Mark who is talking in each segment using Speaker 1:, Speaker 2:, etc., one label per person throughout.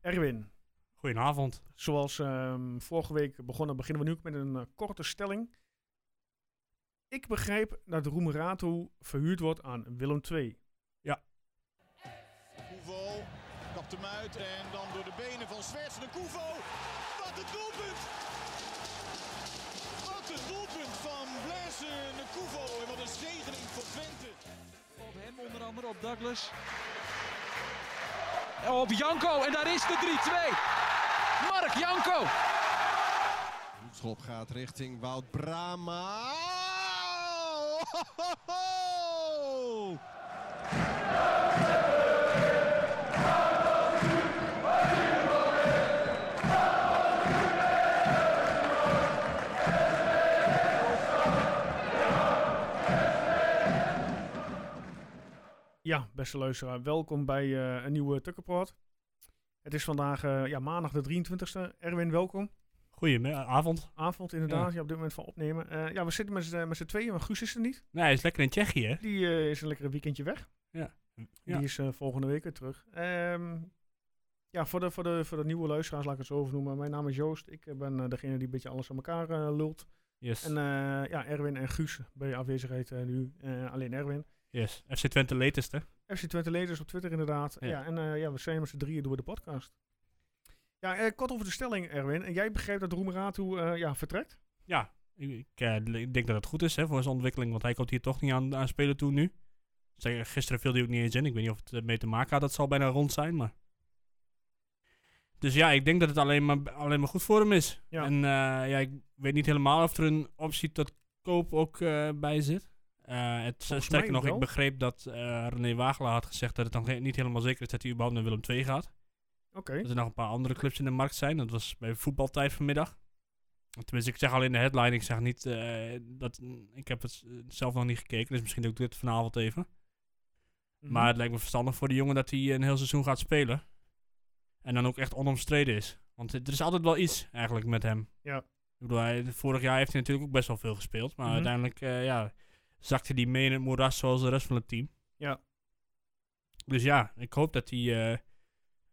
Speaker 1: Erwin,
Speaker 2: Goedenavond.
Speaker 1: zoals ehm, vorige week begonnen, beginnen we nu ook met een eh, korte stelling. Ik begrijp dat Roemerato verhuurd wordt aan Willem II.
Speaker 3: Koevo kapt hem uit en dan door de benen van Zwerts de Koevo. Wat een doelpunt! Wat een doelpunt van Blaise de Koevo en wat een zegening voor Twente.
Speaker 4: Op hem onder andere, op Douglas. En Op Janko, en daar is de 3-2. Mark Janko.
Speaker 5: Schop gaat richting Wout Brama. Oh!
Speaker 1: Ja, beste luisteraar, welkom bij eh, een nieuwe Tukkenport. Het is vandaag eh, ja, maandag de 23e. Erwin, welkom.
Speaker 2: Goedenavond.
Speaker 1: Avond inderdaad, ja. op dit moment van opnemen. Eh, ja, we zitten met, z'n- met z'n tweeën, maar Guus is er niet.
Speaker 2: Nee, hij is lekker in Tsjechië, hè?
Speaker 1: Die eh, is een lekker weekendje weg.
Speaker 2: Ja.
Speaker 1: Die is eh, volgende week weer terug. Ehm, ja, voor de, voor, de, voor de nieuwe luisteraars laat ik het zo overnoemen. Mijn naam is Joost. Ik eh, ben eh, degene die een beetje alles aan elkaar eh, lult.
Speaker 2: Yes.
Speaker 1: En eh, ja, Erwin en Guus bij afwezigheid eh, nu. eh, alleen Erwin.
Speaker 2: yes. FC Twente latest, hè?
Speaker 1: FC Twente Leders op Twitter inderdaad. Ja,
Speaker 2: Ja.
Speaker 1: en eh, ja, we zijn met z'n drieën door de podcast. Ja, eh, kort over de stelling, Erwin. En jij begrijpt dat Roemeratu eh ja, vertrekt?
Speaker 2: Ja. Ik, ik, eh, l- ik denk dat het goed is hè, voor zijn ontwikkeling, want hij komt hier toch niet aan, aan spelen toe nu. Zeg, gisteren viel hij ook niet eens in. Ik weet niet of het ermee te maken had. Dat zal bijna rond zijn, maar... Dus ja, ik denk dat het alleen maar, alleen maar goed voor hem is.
Speaker 1: Ja.
Speaker 2: En eh, ja, ik weet niet helemaal of er een optie tot koop ook eh, bij zit. Eh het, sterker nog,
Speaker 1: wel.
Speaker 2: ik begreep dat eh, René Wagelaar had gezegd dat het dan ge- niet helemaal zeker is dat hij überhaupt naar Willem II gaat.
Speaker 1: Oké.
Speaker 2: Dat er nog een paar andere clubs in de markt zijn. Dat was bij voetbaltijd vanmiddag. Tenminste, ik zeg alleen de headline. Ik zeg niet eh, dat. Ik heb het s- zelf nog niet gekeken. Dus misschien doe ik dit vanavond even.
Speaker 1: Mhm.
Speaker 2: Maar het lijkt me verstandig voor de jongen dat hij een heel seizoen gaat spelen. En dan ook echt onomstreden is. Want er is altijd wel iets eigenlijk met hem.
Speaker 1: Ja.
Speaker 2: Ik bedoel, hij, vorig jaar heeft hij natuurlijk ook best wel veel gespeeld. Maar
Speaker 1: Mhm.
Speaker 2: uiteindelijk eh, ja, zakte hij mee in het moeras zoals de rest van het team.
Speaker 1: Ja.
Speaker 2: Dus ja, ik hoop dat hij eh,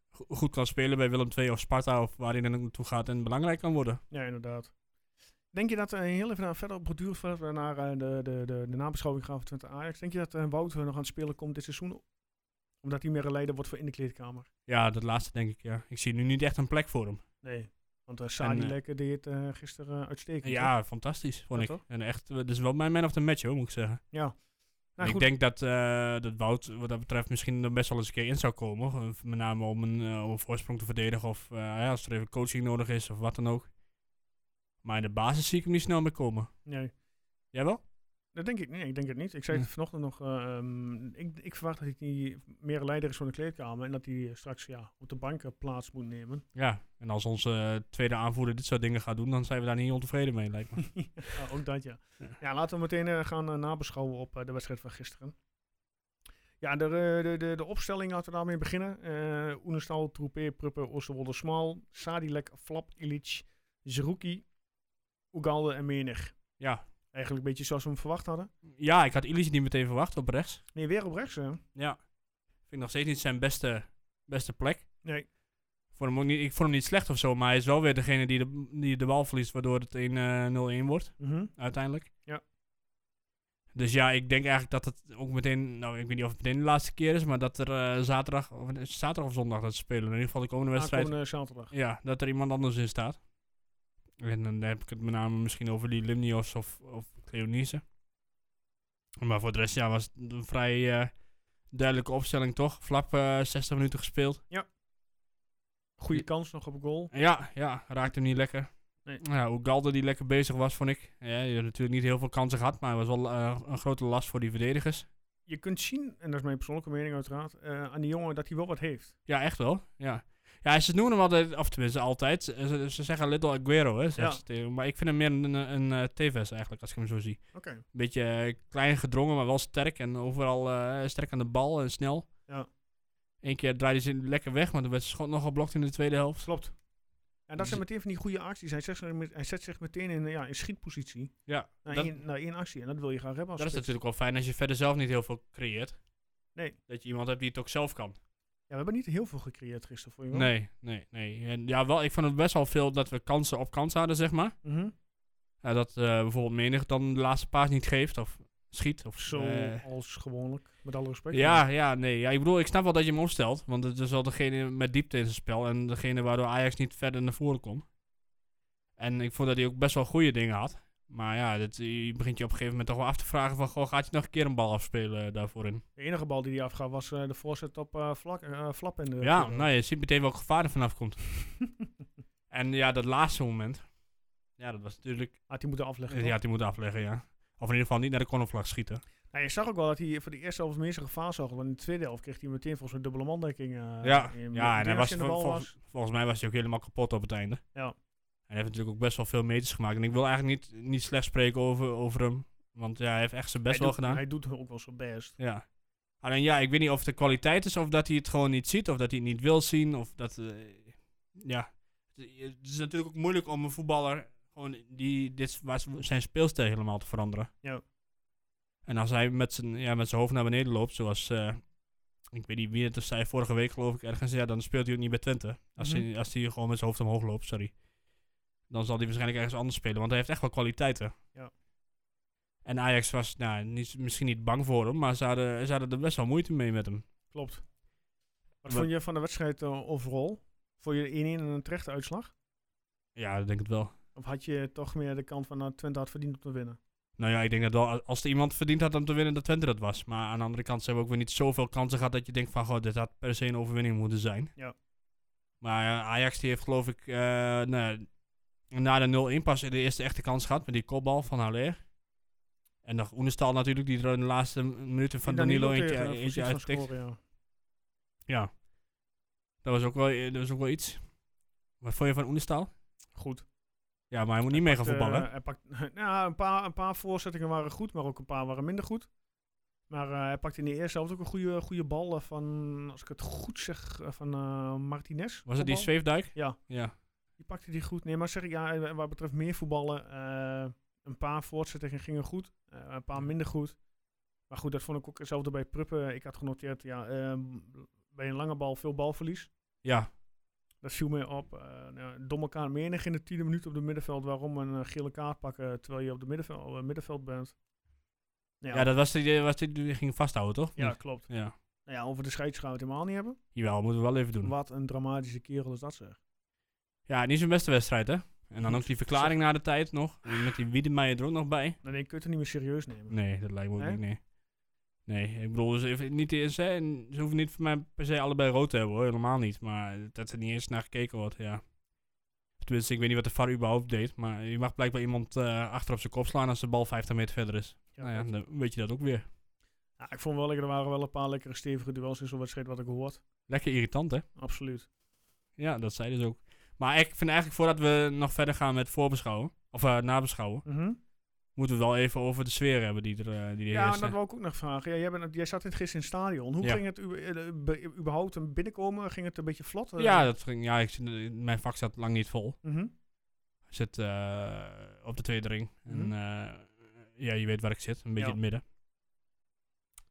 Speaker 2: go- goed kan spelen bij Willem II of Sparta of waar hij dan ook naartoe gaat en belangrijk kan worden.
Speaker 1: Ja, inderdaad. Denk je dat, eh heel even naar, verder op borduur, voordat we naar eh, de, de, de, de nabeschouwing gaan van Twente Ajax, denk je dat eh, Wouter nog aan het spelen komt dit seizoen? Omdat hij meer een leider wordt voor in de kleedkamer?
Speaker 2: Ja, dat laatste denk ik, ja. Ik zie nu niet echt een plek voor hem.
Speaker 1: Nee. Want eh Sadi
Speaker 2: eh,
Speaker 1: Lekker deed het eh, gisteren eh, uitstekend. hè?
Speaker 2: Ja, fantastisch, vond
Speaker 1: Ja,
Speaker 2: ik.
Speaker 1: toch?
Speaker 2: En echt, eh, dat is wel mijn man of the match, hoor, moet ik zeggen.
Speaker 1: ja.
Speaker 2: En
Speaker 1: Nou, goed.
Speaker 2: ik denk dat, eh, dat Wout wat dat betreft misschien er best wel eens een keer in zou komen. Gewoon Met name om een, eh, om een voorsprong te verdedigen of eh, ja, als er even coaching nodig is of wat dan ook. Maar in de basis zie ik hem niet snel meer komen.
Speaker 1: Nee,
Speaker 2: Jij wel?
Speaker 1: dat denk ik, nee, ik denk het niet. Ik zei het
Speaker 2: Ja.
Speaker 1: vanochtend nog, eh, ehm, ik, ik verwacht dat hij meer een leider is voor de kleedkamer en dat hij eh, straks ja, op de banken plaats moet nemen.
Speaker 2: Ja, en als onze eh, tweede aanvoerder dit soort dingen gaat doen, dan zijn we daar niet ontevreden mee, lijkt me.
Speaker 1: Ja, Oh, ook dat, ja.
Speaker 2: Ja.
Speaker 1: Ja, laten we meteen eh, gaan eh, nabeschouwen op eh, de wedstrijd van gisteren. Ja, de, eh, de, de, de opstelling laten we daarmee beginnen. Eh Oenestal, Troepé, Pruppe, Oosterwolde, Smal, Sadilek, Flap, Ilic, Zerouki, Ugalde en Menig.
Speaker 2: ja.
Speaker 1: Eigenlijk een beetje zoals we hem verwacht hadden.
Speaker 2: ja, ik had Illich niet meteen verwacht op rechts.
Speaker 1: Nee, weer op rechts, hè?
Speaker 2: Ja, vind ik nog steeds niet zijn beste, beste plek.
Speaker 1: Nee.
Speaker 2: Ik vond, hem ook niet, ik vond hem niet slecht of zo, maar hij is wel weer degene die de, die de bal verliest, waardoor het 1-0-1 wordt.
Speaker 1: Mhm.
Speaker 2: uiteindelijk.
Speaker 1: Ja.
Speaker 2: Dus ja, ik denk eigenlijk dat het ook meteen, nou ik weet niet of het meteen de laatste keer is, maar dat er eh, zaterdag, of, eh, zaterdag of zondag dat ze spelen, in ieder geval de
Speaker 1: Ah,
Speaker 2: komende wedstrijd,
Speaker 1: Aankomende eh, zaterdag.
Speaker 2: ja, dat er iemand anders in staat. En dan heb ik het met name misschien over die Limnios of, of Cleonice. Maar voor de rest ja, was het een vrij eh, duidelijke opstelling toch? Flap eh 60 minuten gespeeld.
Speaker 1: Goede
Speaker 2: Ja.
Speaker 1: kans nog op goal.
Speaker 2: Ja, ja, raakte hem niet lekker.
Speaker 1: Nee.
Speaker 2: Ja, hoe Galde die lekker bezig was, vond ik. Ja, je hebt natuurlijk niet heel veel kansen gehad, maar het was wel eh, een grote last voor die verdedigers.
Speaker 1: Je kunt zien, en dat is mijn persoonlijke mening uiteraard, eh, aan die jongen dat hij wel wat heeft.
Speaker 2: Ja, echt wel. Ja, ja ze noemen hem altijd, of tenminste altijd, ze, ze- ze zeggen Little Aguero, hè, zeggen
Speaker 1: Ja.
Speaker 2: ze tegen hem. Maar ik vind hem meer een, een, een eh, Tevez eigenlijk, als ik hem zo zie.
Speaker 1: Oké.
Speaker 2: Beetje eh, klein gedrongen, maar wel sterk en overal eh, sterk aan de bal en snel.
Speaker 1: Ja.
Speaker 2: Eén keer draaide ze lekker weg, maar toen werd ze schot nog geblokt in de tweede helft.
Speaker 1: Klopt. En dat
Speaker 2: Dus-
Speaker 1: zijn meteen van die goede acties. Hij zet zich, met- hij zet zich meteen in, eh, ja, in schietpositie.
Speaker 2: Ja,
Speaker 1: Naar,
Speaker 2: dat-
Speaker 1: één, naar één actie. En dat wil je graag hebben als
Speaker 2: Dat is
Speaker 1: spits.
Speaker 2: natuurlijk wel fijn als je verder zelf niet heel veel creëert.
Speaker 1: Nee.
Speaker 2: Dat je iemand hebt die het ook zelf kan.
Speaker 1: we hebben niet heel veel gecreëerd gisteren, voor je wel?
Speaker 2: Nee, nee, nee. En ja, wel, ik vond het best wel veel dat we kansen op kansen hadden, zeg maar.
Speaker 1: Mhm.
Speaker 2: Ja, dat eh, bijvoorbeeld menig dan de laatste paas niet geeft of schiet. Of,
Speaker 1: Zo
Speaker 2: eh,
Speaker 1: als gewoonlijk, met alle respect.
Speaker 2: ja, ja, nee. Ja, ik bedoel, ik snap wel dat je hem opstelt. Want het is wel degene met diepte in zijn spel. En degene waardoor Ajax niet verder naar voren kon. En ik vond dat hij ook best wel goede dingen had. Maar ja, dit, je begint je op een gegeven moment toch wel af te vragen van... Goh, gaat hij nog een keer een bal afspelen eh, daarvoor in?
Speaker 1: De enige bal die hij afgaf was eh, de voorzet op eh, vlak, eh, Flap. In de
Speaker 2: Ja,
Speaker 1: eh,
Speaker 2: nou, je ziet meteen welk gevaar er vanaf komt. en ja, dat laatste moment. Ja, dat was natuurlijk...
Speaker 1: Had hij moeten afleggen.
Speaker 2: Ja, die moet afleggen, ja. Of in ieder geval niet naar de cornervlag schieten.
Speaker 1: Nou, je zag ook wel dat hij voor de eerste helft minstens gevaar zag. Want in de tweede helft kreeg hij meteen volgens een dubbele mandekking. eh,
Speaker 2: ja,
Speaker 1: in-
Speaker 2: ja en
Speaker 1: meteen
Speaker 2: hij was,
Speaker 1: als in de
Speaker 2: vol-
Speaker 1: bal
Speaker 2: vol-
Speaker 1: was.
Speaker 2: volgens mij was hij ook helemaal kapot op het einde.
Speaker 1: Ja.
Speaker 2: En hij heeft natuurlijk ook best wel veel meters gemaakt. En ik wil eigenlijk niet, niet slecht spreken over, over hem. Want ja, hij heeft echt zijn best
Speaker 1: hij
Speaker 2: wel
Speaker 1: doet,
Speaker 2: gedaan.
Speaker 1: Hij doet ook wel zijn best.
Speaker 2: Ja. Alleen ja, ik weet niet of het de kwaliteit is of dat hij het gewoon niet ziet. Of dat hij het niet wil zien. Of dat... eh, ja. Het is natuurlijk ook moeilijk om een voetballer... Gewoon die, dit, waar ze- zijn speelstijl helemaal te veranderen.
Speaker 1: Ja.
Speaker 2: En als hij met zijn, ja, met zijn hoofd naar beneden loopt, zoals... eh, ik weet niet wie het zei vorige week geloof ik ergens. Ja, dan speelt hij ook niet bij Twente. Als,
Speaker 1: Mhm.
Speaker 2: hij, als hij gewoon met zijn hoofd omhoog loopt, sorry. Dan zal hij waarschijnlijk ergens anders spelen. Want hij heeft echt wel kwaliteiten.
Speaker 1: Ja.
Speaker 2: En Ajax was nou, niet, misschien niet bang voor hem, maar ze hadden, ze hadden er best wel moeite mee met hem.
Speaker 1: Klopt. Wat,
Speaker 2: Wat-
Speaker 1: vond je van de wedstrijd eh, overal? Vond je 1-1 en een terechte uitslag?
Speaker 2: Ja, ik denk het wel.
Speaker 1: Of had je toch meer de kant van nou, Twente had verdiend om te winnen?
Speaker 2: Nou ja, ik denk dat wel, als er iemand verdiend had om te winnen, dat Twente dat was. Maar aan de andere kant, ze hebben ook weer niet zoveel kansen gehad dat je denkt van, goh, dit had per se een overwinning moeten zijn.
Speaker 1: Ja.
Speaker 2: Maar eh, Ajax die heeft geloof ik eh, nou, na de 0-1 pas de eerste echte kans gehad met die kopbal van Haller. En nog Oenestal natuurlijk, die er in de laatste minuten van
Speaker 1: Ik denk
Speaker 2: Danilo,
Speaker 1: dat
Speaker 2: eentje,
Speaker 1: iemand tegen, eh,
Speaker 2: eentje
Speaker 1: Voorziet van
Speaker 2: uittikt.
Speaker 1: scoren, ja.
Speaker 2: Ja. Dat was ook wel, eh, dat was ook wel iets. Wat vond je van Oenestaal?
Speaker 1: Goed.
Speaker 2: Ja, maar hij moet niet mee gaan voetballen.
Speaker 1: Eh, hij pakt, nou, een, paar, een paar voorzettingen waren goed, maar ook een paar waren minder goed. Maar eh, hij pakte in de eerste helft ook een goede, goede bal eh, van, als ik het goed zeg, eh, van eh, Martinez.
Speaker 2: was het die
Speaker 1: Kopbal.
Speaker 2: zweefduik?
Speaker 1: Ja.
Speaker 2: Ja.
Speaker 1: Die pakte die goed. Nee, maar zeg ik, ja, eh, wat betreft meer voetballen, eh, een paar voortzettingen gingen goed, eh, een paar minder goed. Maar goed, dat vond ik ook hetzelfde bij Pruppen. Ik had genoteerd, ja, ehm, bij een lange bal veel balverlies.
Speaker 2: Ja.
Speaker 1: Dat viel mij op. eh nou, domme kaart menig in de tiende minuut op de middenveld. Waarom een eh, gele kaart pakken terwijl je op de middenveld, eh, middenveld bent?
Speaker 2: Ja,
Speaker 1: Nou
Speaker 2: dat was die, die was die, die ging vasthouden, toch?
Speaker 1: ja, klopt.
Speaker 2: ja.
Speaker 1: Nou ja, over de scheidschout helemaal niet hebben.
Speaker 2: Jawel, moeten we wel even doen.
Speaker 1: Wat een dramatische kerel is dat zeg.
Speaker 2: Ja, niet zijn beste wedstrijd, hè? En dan ook die verklaring na de tijd nog. Met die Wiedemeijer er ook nog bij.
Speaker 1: Dan denk ik, kun je het niet meer serieus nemen.
Speaker 2: Nee, dat lijkt me ook
Speaker 1: Nee?
Speaker 2: niet, nee. Nee, ik bedoel, ze, heeft niet eens, hè, en ze hoeven niet voor mij per se allebei rood te hebben, hoor. Helemaal niet. Maar dat er niet eens naar gekeken wordt, ja. Tenminste, ik weet niet wat de VAR überhaupt deed. Maar je mag blijkbaar iemand eh, achter op zijn kop slaan als de bal 50 meter verder is.
Speaker 1: Ja,
Speaker 2: nou ja,
Speaker 1: klopt.
Speaker 2: dan weet je dat ook weer.
Speaker 1: Ja, ik vond wel lekker, er waren wel een paar lekkere stevige duels in zo'n wedstrijd wat ik hoort.
Speaker 2: Lekker irritant, hè?
Speaker 1: Absoluut.
Speaker 2: Ja, dat zei dus ook. Maar ik vind eigenlijk, voordat we nog verder gaan met voorbeschouwen, of eh, nabeschouwen, moeten we wel even over de sfeer hebben die er eh, die er
Speaker 1: Ja, en
Speaker 2: heerst,
Speaker 1: dat
Speaker 2: hè.
Speaker 1: wil ik ook nog vragen. Ja, jij, bent, jij zat in- gisteren in het stadion. Hoe
Speaker 2: Ja.
Speaker 1: ging het u- eh, be- überhaupt een binnenkomen? Ging het een beetje vlot? Eh,
Speaker 2: ja, dat ging, ja ik, zit- eh, mijn vak zat lang niet vol.
Speaker 1: mhm.
Speaker 2: zit eh, op de tweede ring.
Speaker 1: Mhm.
Speaker 2: En, eh, ja, je weet waar ik zit, een beetje
Speaker 1: Ja.
Speaker 2: in het midden.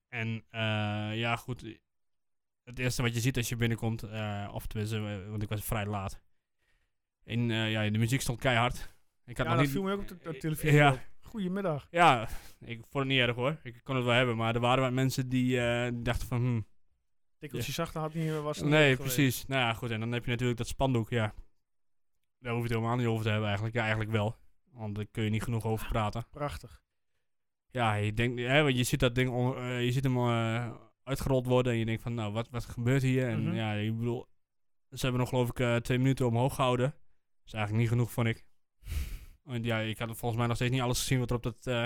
Speaker 2: En eh, ja, goed. eh, Het eerste wat je ziet als je binnenkomt, eh, of tenminste, eh, want ik was vrij laat. En eh, ja, de muziek stond keihard. Ik
Speaker 1: Ja,
Speaker 2: had nog
Speaker 1: dat
Speaker 2: niet... Eh,
Speaker 1: viel me ook op de, op de televisie
Speaker 2: Ja.
Speaker 1: op. Goedemiddag.
Speaker 2: Ja, ik vond het niet erg hoor. Ik kon het wel hebben, maar er waren wat mensen die eh, dachten van... hmm,
Speaker 1: Tikkeltje zachter had niet meer was. het
Speaker 2: Nee,
Speaker 1: niet geweest.
Speaker 2: precies. Nou ja, goed. En dan heb je natuurlijk dat spandoek, ja. Daar hoef je het helemaal niet over te hebben eigenlijk. Ja, eigenlijk wel. Want daar kun je niet genoeg over praten.
Speaker 1: Prachtig.
Speaker 2: Ja, je denkt, hè, want je ziet dat ding, on- eh, je ziet hem eh, uitgerold worden en je denkt van, nou, wat, wat gebeurt hier? En
Speaker 1: Mhm.
Speaker 2: ja, ik bedoel, ze hebben nog geloof ik eh, twee minuten omhoog gehouden. Dat is eigenlijk niet genoeg, vond ik. Want ja, ik had volgens mij nog steeds niet alles gezien wat er op dat eh,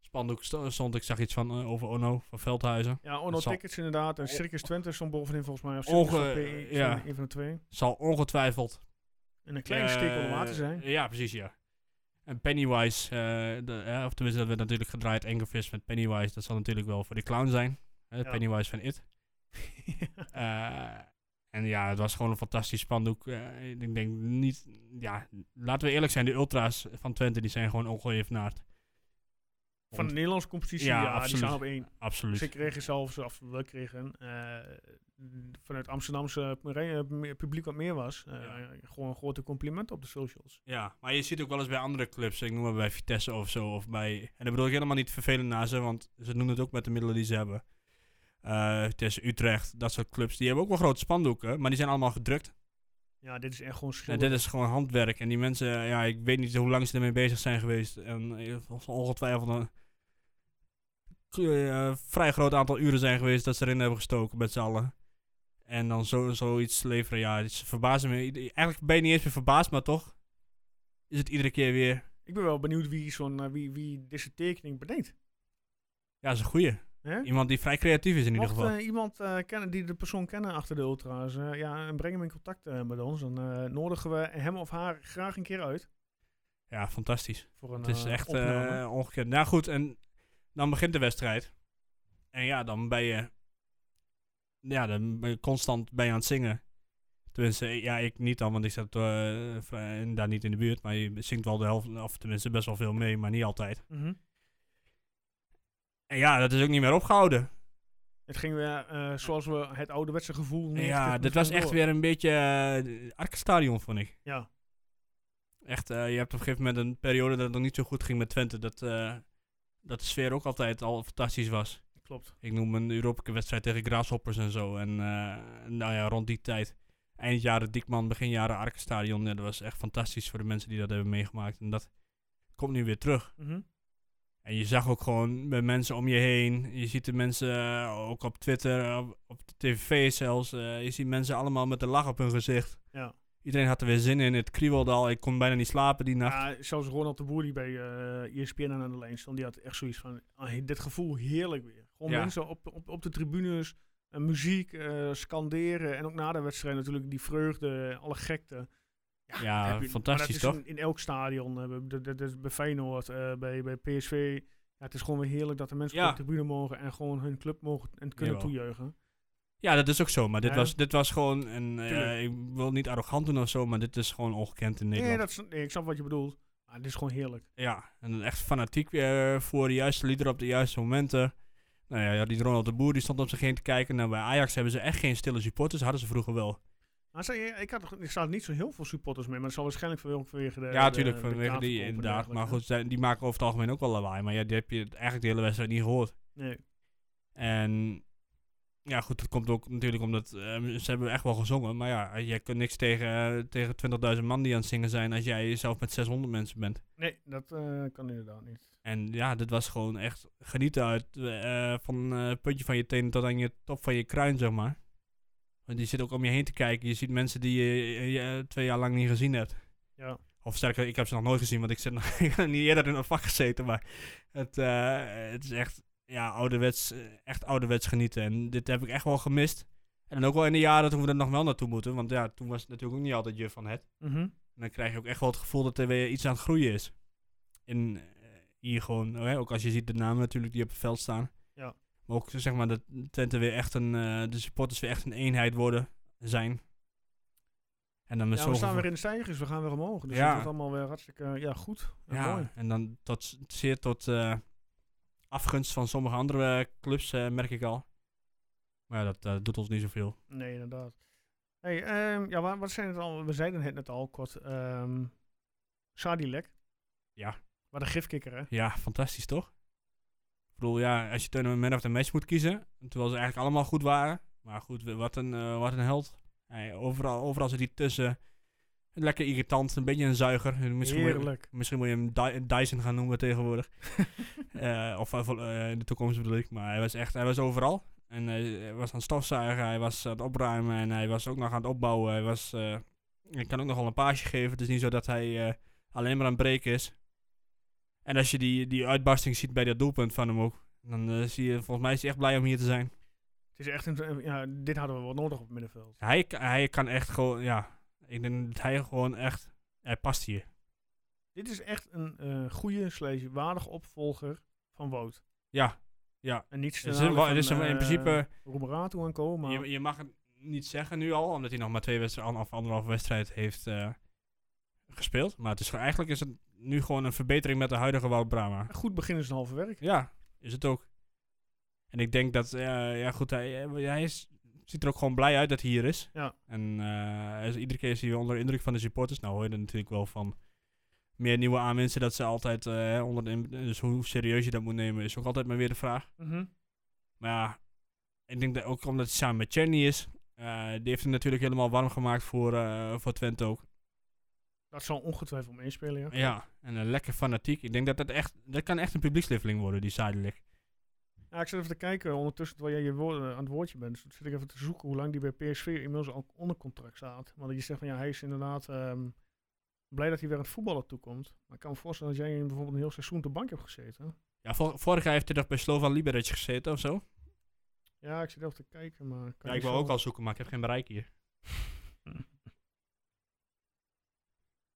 Speaker 2: spandoek sto- stond. Ik zag iets van, eh, over Ono, van Veldhuizen.
Speaker 1: Ja, Onno
Speaker 2: Dat zal-
Speaker 1: Tickets inderdaad. En Circus Twente stond bovenin volgens mij. Of
Speaker 2: Onge-
Speaker 1: Circus P1,
Speaker 2: ja.
Speaker 1: een van de twee.
Speaker 2: Zal ongetwijfeld
Speaker 1: En een kleine
Speaker 2: Eh,
Speaker 1: steek om water zijn.
Speaker 2: Ja, precies, ja. En Pennywise, eh, de, eh, of tenminste, dat werd natuurlijk gedraaid. Angerfist met Pennywise, dat zal natuurlijk wel voor de clown zijn. hè,
Speaker 1: Ja.
Speaker 2: Pennywise van It. Eh, en ja, het was gewoon een fantastisch spandoek. Eh, ik denk niet, ja, laten we eerlijk zijn, de ultra's van Twente, die zijn gewoon ongeëvenaard.
Speaker 1: Van de Nederlandse competitie,
Speaker 2: Ja,
Speaker 1: ja, die
Speaker 2: absoluut.
Speaker 1: staan op één.
Speaker 2: Absoluut.
Speaker 1: Ze kregen zelfs, of we kregen, eh, vanuit Amsterdamse re- eh, publiek wat meer was, eh,
Speaker 2: Ja.
Speaker 1: gewoon grote complimenten op de socials.
Speaker 2: Ja, maar je ziet ook wel eens bij andere clubs, ik noem maar bij Vitesse of zo, of bij... En dat bedoel ik helemaal niet vervelend naar ze, want ze doen het ook met de middelen die ze hebben. Eh Vitesse, Utrecht, dat soort clubs, die hebben ook wel grote spandoeken, maar die zijn allemaal gedrukt.
Speaker 1: Ja, dit is echt gewoon
Speaker 2: En
Speaker 1: schilder.
Speaker 2: dit is gewoon handwerk. En die mensen, ja, ik weet niet hoe lang ze ermee bezig zijn geweest. En eh, ongetwijfeld een eh, vrij groot aantal uren zijn geweest dat ze erin hebben gestoken met z'n allen. En dan zo, zoiets leveren, ja, ze verbazen me. Eigenlijk ben je niet eens meer verbaasd, maar toch is het iedere keer weer...
Speaker 1: Ik ben wel benieuwd wie, zo'n, eh, wie, wie deze tekening bedenkt.
Speaker 2: Ja, dat is een goeie.
Speaker 1: Hè?
Speaker 2: Iemand die vrij creatief is in ieder
Speaker 1: Mocht
Speaker 2: geval.
Speaker 1: eh, iemand eh, kennen die de persoon kennen achter de ultra's, eh, ja, en breng hem in contact eh, met ons, dan eh, nodigen we hem of haar graag een keer uit.
Speaker 2: ja, fantastisch.
Speaker 1: Voor een,
Speaker 2: het is
Speaker 1: eh,
Speaker 2: echt
Speaker 1: opname.
Speaker 2: eh ongekend. Nou goed, en dan begint de wedstrijd. En ja, dan ben je... Ja, dan ben je constant ben je aan het zingen. Tenminste, eh, ja, ik niet dan, want ik zat eh, vrij- daar niet in de buurt. Maar je zingt wel de helft, of tenminste best wel veel mee, maar niet altijd.
Speaker 1: Mhm.
Speaker 2: En ja, dat is ook niet meer opgehouden.
Speaker 1: Het ging weer eh, zoals we het ouderwetse gevoel.
Speaker 2: ja,
Speaker 1: 90
Speaker 2: dit was echt
Speaker 1: door.
Speaker 2: weer een beetje uh, Arkenstadion, vond ik.
Speaker 1: Ja,
Speaker 2: Echt, eh, je hebt op een gegeven moment een periode dat het nog niet zo goed ging met Twente. Dat, eh, dat de sfeer ook altijd al fantastisch was.
Speaker 1: klopt.
Speaker 2: Ik noem een Europese wedstrijd tegen Grasshoppers en zo. En eh, nou ja, rond die tijd. Eind jaren Diekman, begin jaren Arkenstadion. Ja, dat was echt fantastisch voor de mensen die dat hebben meegemaakt. En dat komt nu weer terug.
Speaker 1: Mhm.
Speaker 2: En je zag ook gewoon bij mensen om je heen. Je ziet de mensen eh, ook op Twitter, op, op de tv zelfs. eh, je ziet mensen allemaal met een lach op hun gezicht.
Speaker 1: Ja.
Speaker 2: Iedereen had er weer zin in. Het kriebelde al. Ik kon bijna niet slapen die nacht.
Speaker 1: Ja, zelfs Ronald de Boer die bij eh ESPN aan de lijn stond, die had echt zoiets van, ah, dit gevoel heerlijk weer. Gewoon
Speaker 2: Ja.
Speaker 1: mensen op, op, op de tribunes, eh, muziek, eh, scanderen en ook na de wedstrijd natuurlijk die vreugde, alle gekte.
Speaker 2: Ja,
Speaker 1: heb je-
Speaker 2: fantastisch
Speaker 1: maar dat
Speaker 2: toch?
Speaker 1: is in, in elk stadion, eh, bij- dat- dat- dat is bij Feyenoord, eh, bij, bij PSV. Ja, het is gewoon weer heerlijk dat de mensen
Speaker 2: Ja.
Speaker 1: op de tribune mogen en gewoon hun club mogen en kunnen
Speaker 2: Jawel.
Speaker 1: toejuichen.
Speaker 2: Ja, dat is ook zo. Maar dit,
Speaker 1: Ja.
Speaker 2: was, dit was gewoon. En, eh,
Speaker 1: Tuurlijk.
Speaker 2: ik wil niet arrogant doen of zo, maar dit is gewoon ongekend in
Speaker 1: Nee,
Speaker 2: Nederland.
Speaker 1: dat is, nee, ik snap wat je bedoelt. Maar het is gewoon heerlijk.
Speaker 2: Ja, en dan echt fanatiek eh, voor de juiste liederen op de juiste momenten. Nou ja, ja, die Ronald de Boer die stond op zich heen te kijken. Nou, bij Ajax hebben ze echt geen stille supporters. Hadden ze vroeger wel.
Speaker 1: Maar zei, je- ik, had, nog- ik zat niet zo heel veel supporters mee, maar dat zal waarschijnlijk vanwege- vanwege Eh, de...
Speaker 2: ja, natuurlijk,
Speaker 1: de- de
Speaker 2: vanwege die
Speaker 1: kaartverkoop en
Speaker 2: inderdaad. Maar
Speaker 1: dergelijke.
Speaker 2: goed, zij- die maken over het algemeen ook wel lawaai. Maar ja, die heb je eigenlijk de hele wedstrijd niet gehoord.
Speaker 1: Nee.
Speaker 2: En ja, goed, dat komt ook natuurlijk omdat ehm, ze hebben echt wel gezongen. Maar ja, jij kunt niks tegen, eh, tegen 20.000 man die aan het zingen zijn als jij zelf met 600 mensen bent.
Speaker 1: nee, dat eh, kan inderdaad niet.
Speaker 2: En ja, dit was gewoon echt genieten uit eh, van eh, het puntje van je tenen tot aan je top van je kruin, zeg maar. Want je zit ook om je heen te kijken. Je ziet mensen die je, eh, je- je twee jaar lang niet gezien hebt.
Speaker 1: Ja.
Speaker 2: Of sterker, ik heb ze nog nooit gezien, want ik, zit nog, ik heb niet eerder in een vak gezeten. Maar het, eh, het is echt, ja, ouderwets, eh, echt ouderwets genieten. En dit heb ik echt wel gemist. En dan ook wel in de jaren toen we er nog wel naartoe moeten. Want ja, toen was het natuurlijk ook niet altijd juf van het.
Speaker 1: Mhm.
Speaker 2: En dan krijg je ook echt wel het gevoel dat er weer iets aan het groeien is. En eh, hier gewoon, oh hè, ook als je ziet de namen natuurlijk die op het veld staan.
Speaker 1: Ja.
Speaker 2: Maar ook zeg maar dat Twente weer echt een, eh, de supporters weer echt een eenheid worden, zijn. En dan met
Speaker 1: Ja,
Speaker 2: zo'n
Speaker 1: we staan
Speaker 2: gevoel-
Speaker 1: weer in de stijgers, we gaan weer omhoog. Dus
Speaker 2: Ja.
Speaker 1: dat wordt allemaal weer hartstikke eh, ja, goed. en
Speaker 2: Ja,
Speaker 1: mooi.
Speaker 2: en dan tot, s- zeer tot eh, afgunst van sommige andere eh, clubs, eh, merk ik al. Maar ja, dat eh, doet ons niet zoveel.
Speaker 1: Nee, inderdaad. Hey, ehm, ja, wa- wat zijn het al? We zeiden het net al kort. ehm Sadilek.
Speaker 2: Ja.
Speaker 1: Wat een gifkikker, hè?
Speaker 2: Ja, fantastisch toch? Ik bedoel, ja, als je toen een man of the match moet kiezen, terwijl ze eigenlijk allemaal goed waren. Maar goed, we- wat een, eh, wat een held. Hij, overal, overal zit hij tussen. Lekker irritant, een beetje een zuiger. En Misschien moet, je,
Speaker 1: Heerlijk.
Speaker 2: misschien moet je hem Dy- Dyson gaan noemen tegenwoordig. Eh, of eh, vol- eh, in de toekomst bedoel ik. Maar hij was echt, hij was overal. En eh, hij was aan het stofzuigen, hij was aan het opruimen en hij was ook nog aan het opbouwen. Hij, was, eh, hij kan ook nogal een paasje geven. Het is niet zo dat hij eh, alleen maar aan het breken is. En als je die, die uitbarsting ziet bij dat doelpunt van hem ook, dan eh, zie je, volgens mij is hij echt blij om hier te zijn.
Speaker 1: Het is echt een, eh, ja, dit hadden we wel nodig op het middenveld.
Speaker 2: Hij, k- hij kan echt gewoon, ja, ik denk dat hij gewoon echt, hij past hier.
Speaker 1: Dit is echt een eh goede, slash waardige opvolger van Wout.
Speaker 2: Ja, ja.
Speaker 1: En niets te
Speaker 2: Het is, een,
Speaker 1: nadele
Speaker 2: wa- het is
Speaker 1: van,
Speaker 2: een-
Speaker 1: eh,
Speaker 2: in principe,
Speaker 1: Roemerato en co, maar...
Speaker 2: je, je mag het niet zeggen nu al, omdat hij nog maar twee wedstrijden of anderhalf wedstrijd heeft eh, gespeeld. Maar het is, gewoon- eigenlijk is het nu gewoon een verbetering met de huidige Wout Brama.
Speaker 1: Goed beginnen is een halve werk.
Speaker 2: Ja, is het ook. En ik denk dat, eh, ja goed, hij, hij is, ziet er ook gewoon blij uit dat hij hier is.
Speaker 1: Ja.
Speaker 2: En eh, hij is- iedere keer is hij weer onder de indruk van de supporters. Nou hoor je er natuurlijk wel van meer nieuwe aanwinsten dat ze altijd eh, onder de, in- Dus hoe serieus je dat moet nemen is ook altijd maar weer de vraag.
Speaker 1: Mhm.
Speaker 2: Maar ja, ik denk dat ook omdat hij samen met Cherny is. eh, die heeft hem natuurlijk helemaal warm gemaakt voor, eh, voor Twente ook.
Speaker 1: Dat zal ongetwijfeld meespelen, ja.
Speaker 2: Ja, en een lekker fanatiek. Ik denk dat dat echt, dat kan echt een publiekslieveling worden, die Sadelijk.
Speaker 1: Ja, ik zit even te kijken ondertussen terwijl jij je woorden- aan het woordje bent. Dus zit ik even te zoeken hoe lang die bij PSV inmiddels al onder contract staat. Want je zegt van ja, hij is inderdaad ehm, blij dat hij weer aan het voetballen toekomt. Maar ik kan me voorstellen dat jij hem bijvoorbeeld een heel seizoen op de bank hebt gezeten.
Speaker 2: Ja, vor- vorig jaar heeft hij toch bij Slovan Liberec gezeten of zo?
Speaker 1: Ja, ik zit even te kijken, maar... kan
Speaker 2: Ja,
Speaker 1: niet
Speaker 2: ik wil
Speaker 1: zo-
Speaker 2: ook al zoeken, maar ik heb geen bereik hier.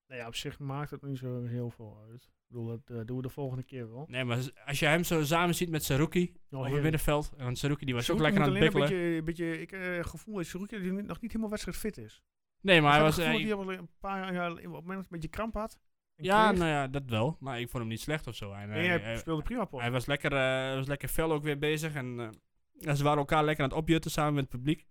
Speaker 1: Nou ja, op zich maakt het niet zo heel veel uit. Ik bedoel, dat eh, doen we de volgende keer wel.
Speaker 2: Nee, maar z- als je hem zo samen ziet met Saruki
Speaker 1: Ja,
Speaker 2: op het
Speaker 1: heerlijk.
Speaker 2: middenveld. En Saruki die was
Speaker 1: Saruki
Speaker 2: ook lekker
Speaker 1: moet
Speaker 2: aan het
Speaker 1: alleen
Speaker 2: bikkelen.
Speaker 1: Een beetje, een beetje, ik eh, het gevoel dat Saruki die nog niet helemaal wedstrijdfit is.
Speaker 2: Nee, maar hij was...
Speaker 1: het gevoel
Speaker 2: eh,
Speaker 1: dat hij al een paar jaar jaar- op het moment dat hij een beetje kramp had. en
Speaker 2: ja,
Speaker 1: kreeg.
Speaker 2: nou ja, dat wel. Maar ik vond hem niet slecht of zo. En, eh,
Speaker 1: Nee, hij,
Speaker 2: hij,
Speaker 1: speelde prima, Paul.
Speaker 2: hij was lekker, eh, hij was lekker fel ook weer bezig. En eh, ja, ze waren elkaar lekker aan het opjutten samen met het publiek.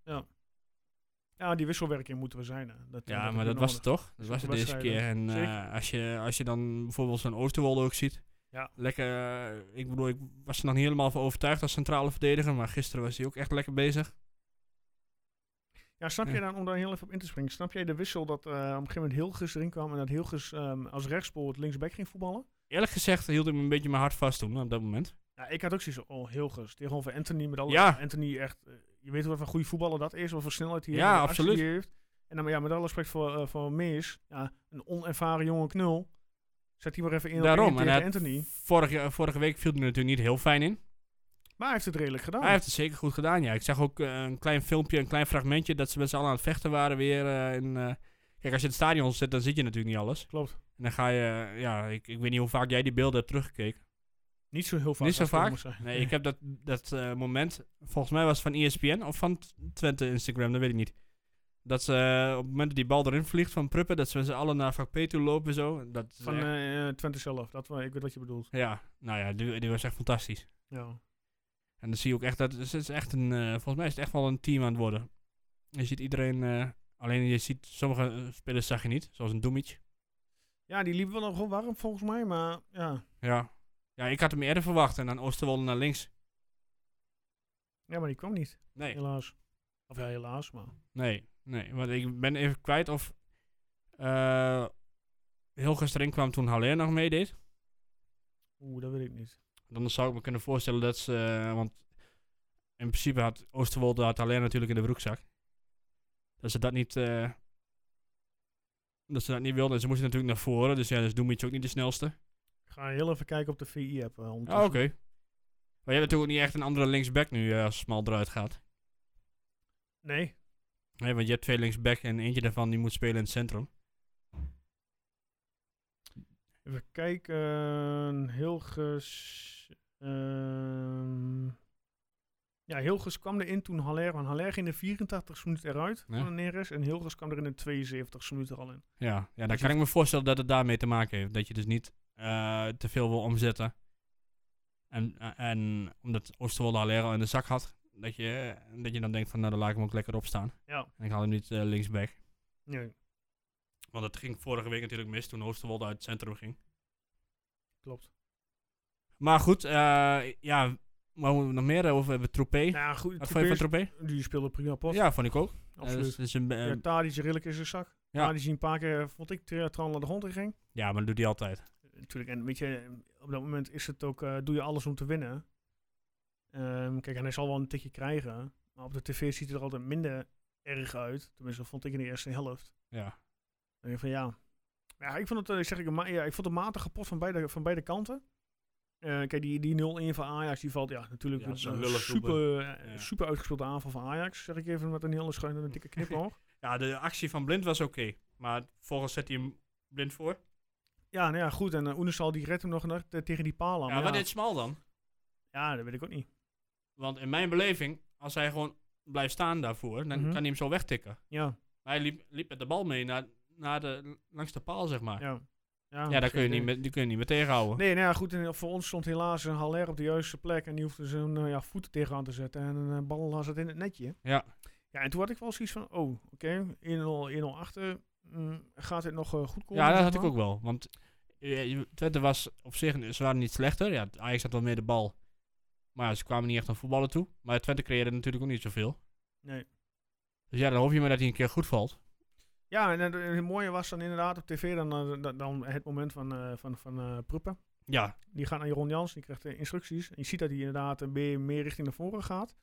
Speaker 1: Ja, die wisselwerking moeten we zijn. Hè. Dat, eh,
Speaker 2: Ja,
Speaker 1: heb
Speaker 2: maar
Speaker 1: je
Speaker 2: dat
Speaker 1: nodig.
Speaker 2: was het toch? Dat was het deze keer.
Speaker 1: wedstrijden.
Speaker 2: En eh,
Speaker 1: Zeker.
Speaker 2: als, je, als je dan bijvoorbeeld zo'n Oosterwolde ook ziet.
Speaker 1: Ja.
Speaker 2: Lekker, eh, ik bedoel, ik was er nog niet helemaal van overtuigd als centrale verdediger. Maar gisteren was hij ook echt lekker bezig.
Speaker 1: Ja, snap
Speaker 2: Ja.
Speaker 1: je dan, om daar heel even op in te springen, snap jij de wissel dat eh, op een gegeven moment Hilgers erin kwam en dat Hilgers ehm, als rechtspoor het linksback ging voetballen?
Speaker 2: Eerlijk gezegd hield ik me een beetje mijn hart vast toen, op dat moment.
Speaker 1: Ja, ik had ook zoiets van, oh, Hilgers, tegenover Anthony met alle...
Speaker 2: Ja.
Speaker 1: Anthony echt, eh, je weet wel wat een goede voetballer dat is, wat voor snelheid hij
Speaker 2: Ja,
Speaker 1: heeft, wat actie
Speaker 2: absoluut.
Speaker 1: hij heeft. En dan, maar ja, met alle respect voor, eh, voor Mees, ja, een onervaren jonge knul, zet hij maar even in
Speaker 2: Daarom, en
Speaker 1: tegen
Speaker 2: hij-
Speaker 1: Anthony.
Speaker 2: Vorige, vorige week viel hij er natuurlijk niet heel fijn in.
Speaker 1: Maar hij heeft het redelijk gedaan.
Speaker 2: Hij heeft het zeker goed gedaan, ja. Ik zag ook eh, een klein filmpje, een klein fragmentje dat ze met z'n allen aan het vechten waren weer. eh, en, eh, kijk, als je in het stadion zit, dan zie je natuurlijk niet alles.
Speaker 1: Klopt.
Speaker 2: En dan ga je, eh, ja, ik, ik weet niet hoe vaak jij die beelden hebt teruggekeken.
Speaker 1: Niet zo heel vaak.
Speaker 2: Niet zo
Speaker 1: als het
Speaker 2: vaak?
Speaker 1: moet zijn.
Speaker 2: Nee, ik heb dat, dat eh, moment, volgens mij was het van E ESPN of van T- Twente Instagram, dat weet ik niet. Dat ze eh, op het moment dat die bal erin vliegt van Pruppen, dat ze met z'n allen naar vak P toe lopen en zo. Dat is
Speaker 1: Van
Speaker 2: echt-
Speaker 1: eh, eh, Twente zelf, dat, wel- ik weet wat je bedoelt.
Speaker 2: ja, nou ja, die, die was echt fantastisch.
Speaker 1: Ja.
Speaker 2: En dan zie je ook echt dat het is echt een, eh, volgens mij is het echt wel een team aan het worden. Je ziet iedereen, eh, alleen je ziet sommige eh, spelers zag je niet, zoals een Doemic.
Speaker 1: Ja, die liep wel nog wel warm volgens mij, maar ja.
Speaker 2: Ja. ja, ik had hem eerder verwacht en dan Oosterwolde naar links.
Speaker 1: Ja, maar die kwam niet,
Speaker 2: Nee,
Speaker 1: helaas. Of ja, helaas, maar...
Speaker 2: nee, nee, want ik ben even kwijt of eh heel gisteren kwam toen Haller nog meedeed.
Speaker 1: Oeh, dat weet ik niet.
Speaker 2: Dan zou ik me kunnen voorstellen dat ze, eh, want in principe had Oosterwolde had Haller natuurlijk in de broekzak. Dat ze dat niet, eh, dat ze dat niet wilden. En ze moesten natuurlijk naar voren, dus ja, dus Doemic ook niet de snelste.
Speaker 1: Ik ga heel even kijken op de VI-app. eh,
Speaker 2: Ah, oké.
Speaker 1: ondertussen.
Speaker 2: Maar je hebt natuurlijk ook niet echt een andere linksback nu eh, als Smal eruit gaat.
Speaker 1: Nee,
Speaker 2: Nee, want je hebt twee linksback en eentje daarvan die moet spelen in het centrum.
Speaker 1: even kijken. Hilgers... ehm, ja, Hilgers kwam erin toen Haller... Want Haller ging in de 84 minuten eruit
Speaker 2: Ja.
Speaker 1: van de Neres. En Hilgers kwam er in de 72 minuten al in.
Speaker 2: Ja, ja dan kan ik me voorstellen dat het daarmee te maken heeft. Dat je dus niet eh, te veel wil omzetten. En, eh, en omdat Oosterwolde Alero in de zak had, dat je, dat je dan denkt van nou dan laat ik hem ook lekker opstaan.
Speaker 1: Ja,
Speaker 2: En ik haal hem niet eh, linksback.
Speaker 1: nee,
Speaker 2: Want dat ging vorige week natuurlijk mis toen Oosterwolde uit het centrum ging.
Speaker 1: klopt.
Speaker 2: Maar goed, eh, ja, waar moeten we nog meer over hebben? Troepé?
Speaker 1: Nou ja, goed.
Speaker 2: Wat vond je van
Speaker 1: Troepé
Speaker 2: Troepé?
Speaker 1: is- die speelde prima pas.
Speaker 2: Ja, vond ik ook. Ja,
Speaker 1: absoluut.
Speaker 2: dus- dus een, eh,
Speaker 1: Ja, Tadic redelijk in zijn zak.
Speaker 2: Ja.
Speaker 1: Ja. Tadic die een paar keer, vond ik, tra- trouw naar de grond in ging.
Speaker 2: ja, maar dat doet hij altijd.
Speaker 1: Natuurlijk, en weet je, op dat moment is het ook, eh, doe je alles om te winnen. Ehm, kijk, en hij zal wel een tikje krijgen. Maar op de tv ziet het er altijd minder erg uit. Tenminste, dat vond ik in de eerste helft.
Speaker 2: Ja.
Speaker 1: Dan denk ik van ja. Ja, ik vond het, eh, ik zeg ik, een ma- ja, ik vond het matig gepot van beide, van beide kanten. Eh, kijk, die, die 0-1 van Ajax, die valt ja, natuurlijk
Speaker 2: Ja, dat is een
Speaker 1: een
Speaker 2: lullig
Speaker 1: super, eh,
Speaker 2: Ja.
Speaker 1: super uitgespeelde aanval van Ajax. Zeg ik even met een hele schuine en een dikke knipoog.
Speaker 2: ja, de actie van Blind was oké. maar volgens zet hij hem blind voor.
Speaker 1: Ja, nou ja, goed. En eh, Oenerstal die redt hem nog naar- te- tegen die paal aan.
Speaker 2: ja,
Speaker 1: maar
Speaker 2: wat
Speaker 1: ja,
Speaker 2: deed Smal dan?
Speaker 1: ja, dat weet ik ook niet.
Speaker 2: Want in mijn beleving, als hij gewoon blijft staan daarvoor, dan
Speaker 1: Mhm.
Speaker 2: kan hij hem zo wegtikken.
Speaker 1: Ja,
Speaker 2: Maar hij liep, liep met de bal mee naar, naar de, langs de paal, zeg maar.
Speaker 1: ja.
Speaker 2: ja, daar
Speaker 1: misschien
Speaker 2: kun je,
Speaker 1: de-
Speaker 2: niet meer, die kun je niet meer tegenhouden.
Speaker 1: Nee, nou ja, goed. en voor ons stond helaas een Haller op de juiste plek. En die hoefde zijn nou ja, voeten tegenaan te zetten. En een eh, bal was het in het netje.
Speaker 2: Ja.
Speaker 1: Ja, en toen had ik wel zoiets van, oh, oké, 1-0 1-0 achter. Mm, gaat het nog eh, goed komen?
Speaker 2: Ja, dat
Speaker 1: zeg
Speaker 2: had ik
Speaker 1: maar?
Speaker 2: ook wel. Want eh, je- Twente was op zich, ze waren niet slechter. Ja, Ajax had wel meer de bal. Maar ja, ze kwamen niet echt aan voetballen toe. Maar Twente creëerde natuurlijk ook niet zoveel.
Speaker 1: Nee.
Speaker 2: Dus ja, dan hoop je maar dat hij een keer goed valt.
Speaker 1: Ja, en het, het mooie was dan inderdaad op tv dan, eh, dan, dan het moment van, eh van, van eh Pruppen.
Speaker 2: Ja,
Speaker 1: Die gaat naar Jeroen Jans, die krijgt eh, instructies. En je ziet dat hij inderdaad eh, meer, meer richting naar voren gaat.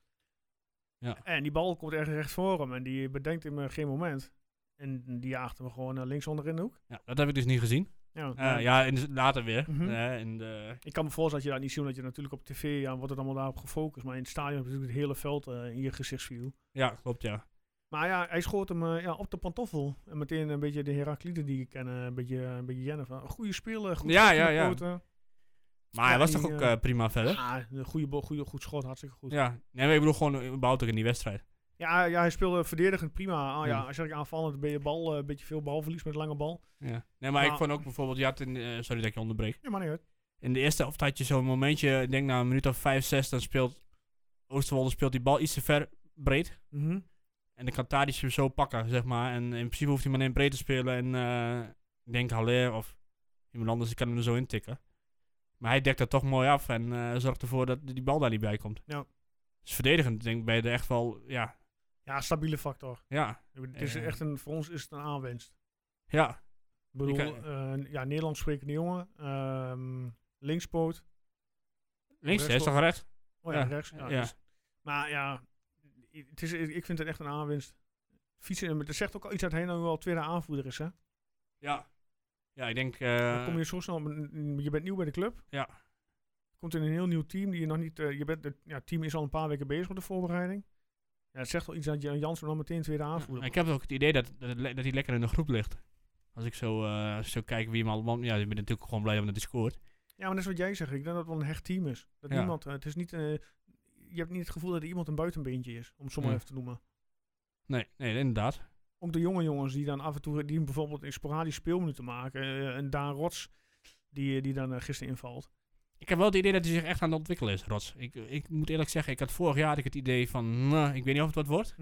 Speaker 2: Ja.
Speaker 1: En die bal komt echt recht voor hem. En die bedenkt hem eh, geen moment. En die jaagt hem gewoon eh, links onder in de hoek.
Speaker 2: ja dat heb ik dus niet gezien.
Speaker 1: Ja,
Speaker 2: Eh, ja, en dus later weer.
Speaker 1: Mhm.
Speaker 2: Eh, en, eh,
Speaker 1: Ik kan me voorstellen dat je dat niet ziet, omdat je natuurlijk op tv, ja, wordt het allemaal daarop gefocust. Maar in het stadion heb je natuurlijk het hele veld eh, in je gezichtsview.
Speaker 2: ja, klopt, ja.
Speaker 1: Maar ja, hij schoot hem eh, ja, op de pantoffel. En meteen een beetje de Herakliden die ik ken, eh, een beetje, een beetje Jennifer. Een goede speler, goed
Speaker 2: Ja,
Speaker 1: schot in
Speaker 2: ja,
Speaker 1: de
Speaker 2: ja.
Speaker 1: poten.
Speaker 2: Maar hij
Speaker 1: Ja,
Speaker 2: was
Speaker 1: die,
Speaker 2: toch ook
Speaker 1: eh,
Speaker 2: eh, prima verder?
Speaker 1: Ja, een goede, bal, goede, goed schot, hartstikke goed. Ja.
Speaker 2: Ja, nee, maar ik bedoel gewoon eh, überhaupt ook in die wedstrijd.
Speaker 1: Ja, hij speelde verdedigend prima. Ah, ja,
Speaker 2: Ja.
Speaker 1: als je aanvallend ben je bal, eh, een beetje veel balverlies met lange bal.
Speaker 2: Ja. Nee, maar ik
Speaker 1: Maar-
Speaker 2: vond ook bijvoorbeeld, je had in, eh, sorry dat ik je onderbreek.
Speaker 1: Ja, maar nee, hoor.
Speaker 2: In de eerste helft had je zo'n momentje, ik denk na een minuut of vijf, zes, dan speelt Oosterwolde speelt die bal iets te ver breed.
Speaker 1: Mhm.
Speaker 2: En dan kan Tadic hem zo pakken, zeg maar. En in principe hoeft hij maar in breed te spelen. En eh, ik denk Haller of iemand anders, die kan hem er zo intikken. Maar hij dekt dat toch mooi af en eh, zorgt ervoor dat die bal daar niet bij komt.
Speaker 1: Ja.
Speaker 2: Dus verdedigend, denk ik, ben je er echt wel, ja,
Speaker 1: Ja, stabiele factor.
Speaker 2: ja,
Speaker 1: Ik bedoel, Het is
Speaker 2: Eh.
Speaker 1: echt een, voor ons is het een aanwinst.
Speaker 2: ja.
Speaker 1: Ik bedoel,
Speaker 2: kan-
Speaker 1: eh, ja, Nederlands sprekende jongen. ehm, linkspoot.
Speaker 2: Links,
Speaker 1: Rechts
Speaker 2: hè, is toch recht?
Speaker 1: Oh ja,
Speaker 2: Ja,
Speaker 1: rechts. Ja,
Speaker 2: ja.
Speaker 1: dus- maar ja, i- het is, ik vind het echt een aanwinst. Fietsen, maar dat zegt ook al iets dat hij nou wel tweede aanvoerder is. Hè?
Speaker 2: Ja. Ja, ik denk...
Speaker 1: Dan
Speaker 2: eh,
Speaker 1: kom je zo snel, op een- je bent nieuw bij de club.
Speaker 2: Ja.
Speaker 1: Komt in een heel nieuw team die je nog niet, eh, je bent, het ja, het team is al een paar weken bezig met de voorbereiding. Ja, het zegt wel iets dat Jan Jansen dan meteen tweede aanvoerder.
Speaker 2: Ja, ik heb ook het idee dat, dat, het le- dat hij lekker in de groep ligt. Als ik zo, eh, als ik zo kijk wie hem allemaal... Ja, ik ben natuurlijk gewoon blij omdat hij scoort.
Speaker 1: Ja, maar dat is wat jij zegt. Ik denk dat het wel een hecht team is. Dat
Speaker 2: Ja.
Speaker 1: niemand, eh, het is niet, eh, je hebt niet het gevoel dat er iemand een buitenbeentje is, om het zo maar
Speaker 2: Ja.
Speaker 1: even te noemen.
Speaker 2: Nee, nee, inderdaad.
Speaker 1: ook de jonge jongens die dan af en toe, die bijvoorbeeld in sporadisch speelminuten maken. eh, en Daan Rots, die, eh, die dan eh, gisteren invalt.
Speaker 2: Ik heb wel het idee dat hij zich echt aan het ontwikkelen is, Rots. Ik, ik moet eerlijk zeggen, ik had vorig jaar had ik het idee van... "Nou, ik weet niet of het wat wordt.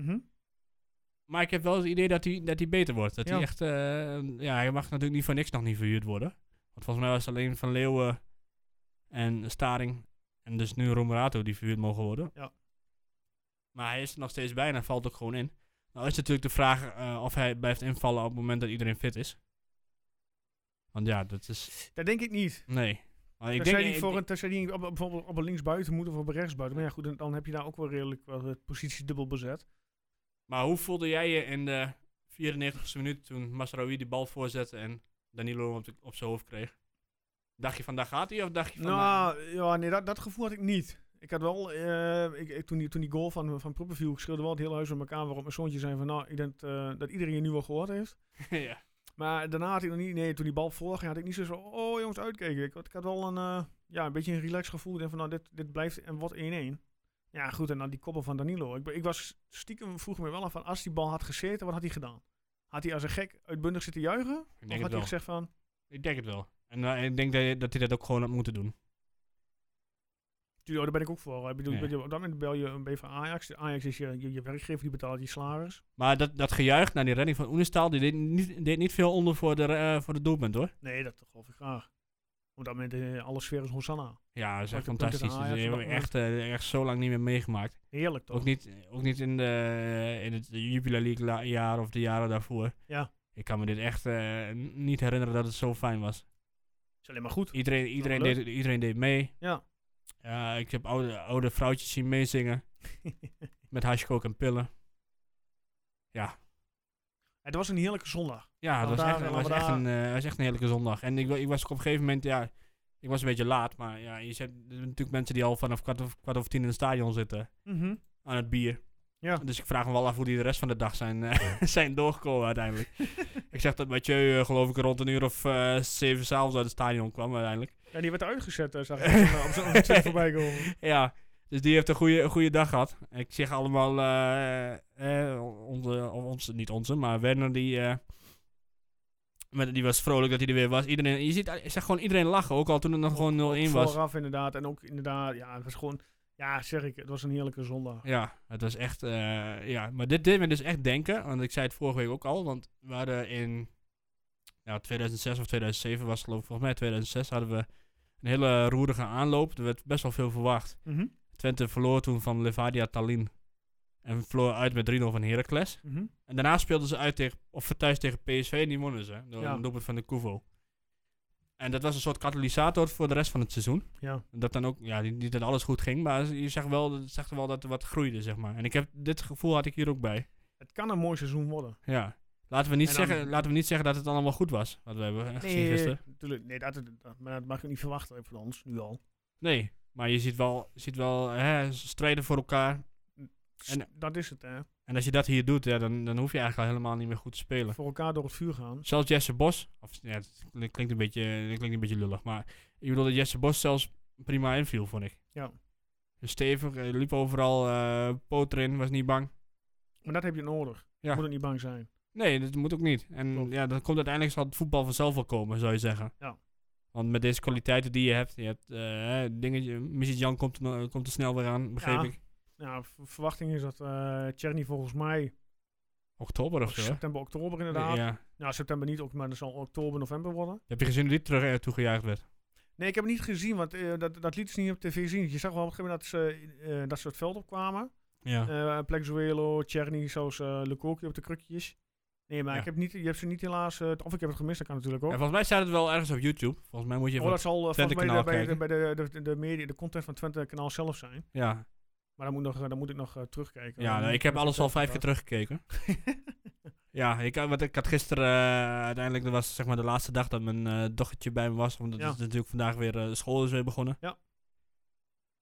Speaker 2: Maar ik heb wel het idee dat hij, dat hij beter wordt. Dat
Speaker 1: Ja.
Speaker 2: hij echt... eh, ja, hij mag natuurlijk niet voor niks nog niet verhuurd worden. Want volgens mij was het alleen Van Leeuwen en Staring... En dus nu Romerato die verhuurd mogen worden.
Speaker 1: Ja.
Speaker 2: Maar hij is er nog steeds bij en hij valt ook gewoon in. Nou is natuurlijk de vraag eh, of hij blijft invallen op het moment dat iedereen fit is. Want ja, dat is...
Speaker 1: Dat denk ik niet.
Speaker 2: Nee. Maar ik denk...
Speaker 1: Tenzij die,
Speaker 2: ik-
Speaker 1: voor een, tenzij die op, op- bijvoorbeeld op een linksbuiten moet of op een rechtsbuiten. Maar ja, goed, dan, dan heb je daar ook wel redelijk wel de positie dubbel bezet.
Speaker 2: Maar hoe voelde jij je in de 94ste minuut toen Masraoui die bal voorzette en Danilo hem op, de- op zijn hoofd kreeg? Dacht je van daar gaat hij of dacht je van... eh,
Speaker 1: Nou, ja, nee, dat, dat gevoel had ik niet. Ik had wel, eh, ik, ik- toen, die, toen die goal van, van Pruppen viel, ik schreeuwde wel het hele huis bij elkaar waarop mijn zoontje zei van, nou, ik denk eh, dat iedereen je nu wel gehoord heeft.
Speaker 2: nou, ja.
Speaker 1: Maar daarna had ik nog niet, nee, toen die bal voorging, had ik niet zo van, oh jongens, uitkeken. Ik, had- ik had wel een, eh, ja, een beetje een relaxed gevoel. Ik denk van, nou, dit, dit blijft en wordt 1-1. Ja, goed, en dan die koppel van Danilo. Ik, ben- ik was stiekem, vroeg me wel af van, als die bal had gezeten, wat had hij gedaan? Had hij als een gek uitbundig zitten juichen?
Speaker 2: ik,
Speaker 1: Of
Speaker 2: denk
Speaker 1: had
Speaker 2: het
Speaker 1: hij
Speaker 2: wel.
Speaker 1: gezegd van,
Speaker 2: ik denk het wel. En eh, ik denk dat, je- dat hij dat ook gewoon had moeten doen.
Speaker 1: tuurlijk, oh, daar ben ik ook voor. Ik bedoel,
Speaker 2: Ja.
Speaker 1: ik bedoel, op dat moment bel je een beetje van Ajax. De Ajax is je, je, je werkgever, die betaalt je salaris.
Speaker 2: Maar dat, dat gejuich naar die redding van Oenestaal, die deed niet, deed niet veel onder voor de, eh, voor de doelpunt hoor.
Speaker 1: Nee, dat geloof ik graag. Op dat moment, eh, alle sfeer is Hosanna.
Speaker 2: Ja, dat is echt
Speaker 1: Maakte punten
Speaker 2: fantastisch.
Speaker 1: aan
Speaker 2: Dat
Speaker 1: Ajax op
Speaker 2: hebben
Speaker 1: dat
Speaker 2: we echt, eh, echt zo lang niet meer meegemaakt.
Speaker 1: Heerlijk, ah, toch?
Speaker 2: Ook niet, ook niet in, de, in het Jupiler League la- jaar of de jaren daarvoor.
Speaker 1: Ja.
Speaker 2: Ik kan me dit echt eh, n- niet herinneren dat het zo fijn was.
Speaker 1: Is alleen maar goed.
Speaker 2: Iedereen, iedereen,
Speaker 1: leuk.
Speaker 2: deed, iedereen deed mee.
Speaker 1: Ja.
Speaker 2: Ja, ik heb oude, oude vrouwtjes zien meezingen met hashcoke en pillen.
Speaker 1: het was een heerlijke zondag.
Speaker 2: Ja, het was, echt, het
Speaker 1: Lambada,
Speaker 2: was, echt een,
Speaker 1: lambada.
Speaker 2: eh, het was echt een heerlijke zondag. En ik, wa- ik was ook op een gegeven moment, ja, ik was een beetje laat. Maar ja, je zet, er zijn natuurlijk mensen die al vanaf kwart of, kwart over tien in het stadion zitten
Speaker 1: Mhm.
Speaker 2: aan het bier.
Speaker 1: Ja.
Speaker 2: Dus ik vraag me wel af hoe die de rest van de dag zijn, eh, zijn doorgekomen uiteindelijk. Ik zeg dat Mathieu, eh, geloof ik, rond een uur of eh, zeven s'avonds uit het stadion kwam uiteindelijk.
Speaker 1: Ja, die werd uitgezet, eh, zag ik eh, op zo'n Twitter voorbij komen.
Speaker 2: Ja, dus die heeft een goede, een goede dag gehad. Ik zeg allemaal, eh, eh, onze, of onze, niet onze, maar Werner die, eh, Maar die was vrolijk dat hij er weer was. Iedereen, je, ziet, je zag gewoon iedereen lachen, ook al toen het nog gewoon 0-1 was.
Speaker 1: Vooraf inderdaad. En ook inderdaad, ja, het was gewoon... Ja, zeg ik, het was een heerlijke zondag.
Speaker 2: Ja, het was echt. eh, ja, maar dit deed me dus echt denken. Want ik zei het vorige week ook al. Want we hadden in ja, 2006 of 2007 was het geloof ik. Volgens mij 2006 hadden we een hele roerige aanloop. Er werd best wel veel verwacht.
Speaker 1: Mhm,
Speaker 2: Twente verloor toen van Levadia Tallinn. En verloor uit met 3-0 van Heracles.
Speaker 1: mhm.
Speaker 2: En daarna speelden ze uit tegen, of thuis tegen PSV en die wonnen ze. Door
Speaker 1: Ja.
Speaker 2: een doelpunt van de Kuvo. En dat was een soort katalysator voor de rest van het seizoen.
Speaker 1: Ja,
Speaker 2: Dat dan ook, ja, niet niet dat alles goed ging, maar je zag wel, zag wel dat er wat groeide, zeg maar. En ik heb, dit gevoel had ik hier ook bij.
Speaker 1: het kan een mooi seizoen worden.
Speaker 2: Ja. Laten we niet,
Speaker 1: En dan-
Speaker 2: zeggen, laten we niet zeggen dat het allemaal goed was, wat we hebben eh, gezien
Speaker 1: Nee,
Speaker 2: gisteren.
Speaker 1: natuurlijk. Nee, dat, dat- maar dat mag je niet verwachten van ons, nu al.
Speaker 2: Nee, maar je ziet wel, ziet wel hè, ze strijden voor elkaar. En-
Speaker 1: dat is het, hè.
Speaker 2: En als je dat hier doet, ja, dan, dan hoef je eigenlijk al helemaal niet meer goed te spelen.
Speaker 1: Voor elkaar door het vuur gaan.
Speaker 2: Zelfs Jesse Bos, of ja, het klinkt een beetje, het klinkt een beetje lullig, maar ik bedoel dat Jesse Bos zelfs prima inviel, vond ik.
Speaker 1: Ja.
Speaker 2: Stevig, eh, liep overal, eh, poot erin, was niet bang.
Speaker 1: Maar dat heb je nodig.
Speaker 2: Ja.
Speaker 1: Moet het niet bang zijn.
Speaker 2: Nee, dat moet ook niet. En
Speaker 1: Klopt.
Speaker 2: ja, dan komt uiteindelijk zal het voetbal vanzelf wel komen, zou je zeggen.
Speaker 1: Ja.
Speaker 2: Want met deze kwaliteiten die je hebt, je hebt eh, eh, dingetje, Missy Jan komt, er no- komt er snel weer aan, begreep
Speaker 1: Ja.
Speaker 2: ik.
Speaker 1: Nou, v- verwachting is dat eh Tjerni volgens mij
Speaker 2: Oktober of zo. hè?
Speaker 1: september, oktober inderdaad.
Speaker 2: Ja.
Speaker 1: Nou, september niet, ook, maar dat zal oktober, november worden.
Speaker 2: Heb je gezien hoe die terug eh, toegejuicht werd?
Speaker 1: Nee, ik heb het niet gezien, want eh, dat, dat liet ze niet op tv zien. Je zag wel op een gegeven moment dat ze, eh, dat ze het veld opkwamen.
Speaker 2: Ja.
Speaker 1: Eh Plexuelo, Tjerni, zoals eh Lecoqui op de krukjes. Nee, maar
Speaker 2: Ja.
Speaker 1: ik heb niet, je hebt ze niet helaas, eh, of ik heb het gemist, dat kan natuurlijk
Speaker 2: en
Speaker 1: ook.
Speaker 2: volgens mij staat het wel ergens op YouTube. Volgens mij moet je
Speaker 1: Oh,
Speaker 2: even...
Speaker 1: dat zal eh, volgens mij
Speaker 2: Twente-kanaal
Speaker 1: bij, de, bij
Speaker 2: kijken.
Speaker 1: de, de, de, de media, de content van Twente kanaal zelf zijn.
Speaker 2: ja,
Speaker 1: Maar dan moet, nog, eh, dan moet ik nog eh, terugkijken.
Speaker 2: ja
Speaker 1: Dan
Speaker 2: nou,
Speaker 1: moet
Speaker 2: ik heb
Speaker 1: nog
Speaker 2: alles al
Speaker 1: vertellen.
Speaker 2: vijf keer teruggekeken. ja, ik, had- want ik had gisteren eh, uiteindelijk, dat was zeg maar de laatste dag dat mijn eh, dochtertje bij me was. Omdat
Speaker 1: Ja.
Speaker 2: het is natuurlijk vandaag weer, eh, school is weer begonnen.
Speaker 1: Ja.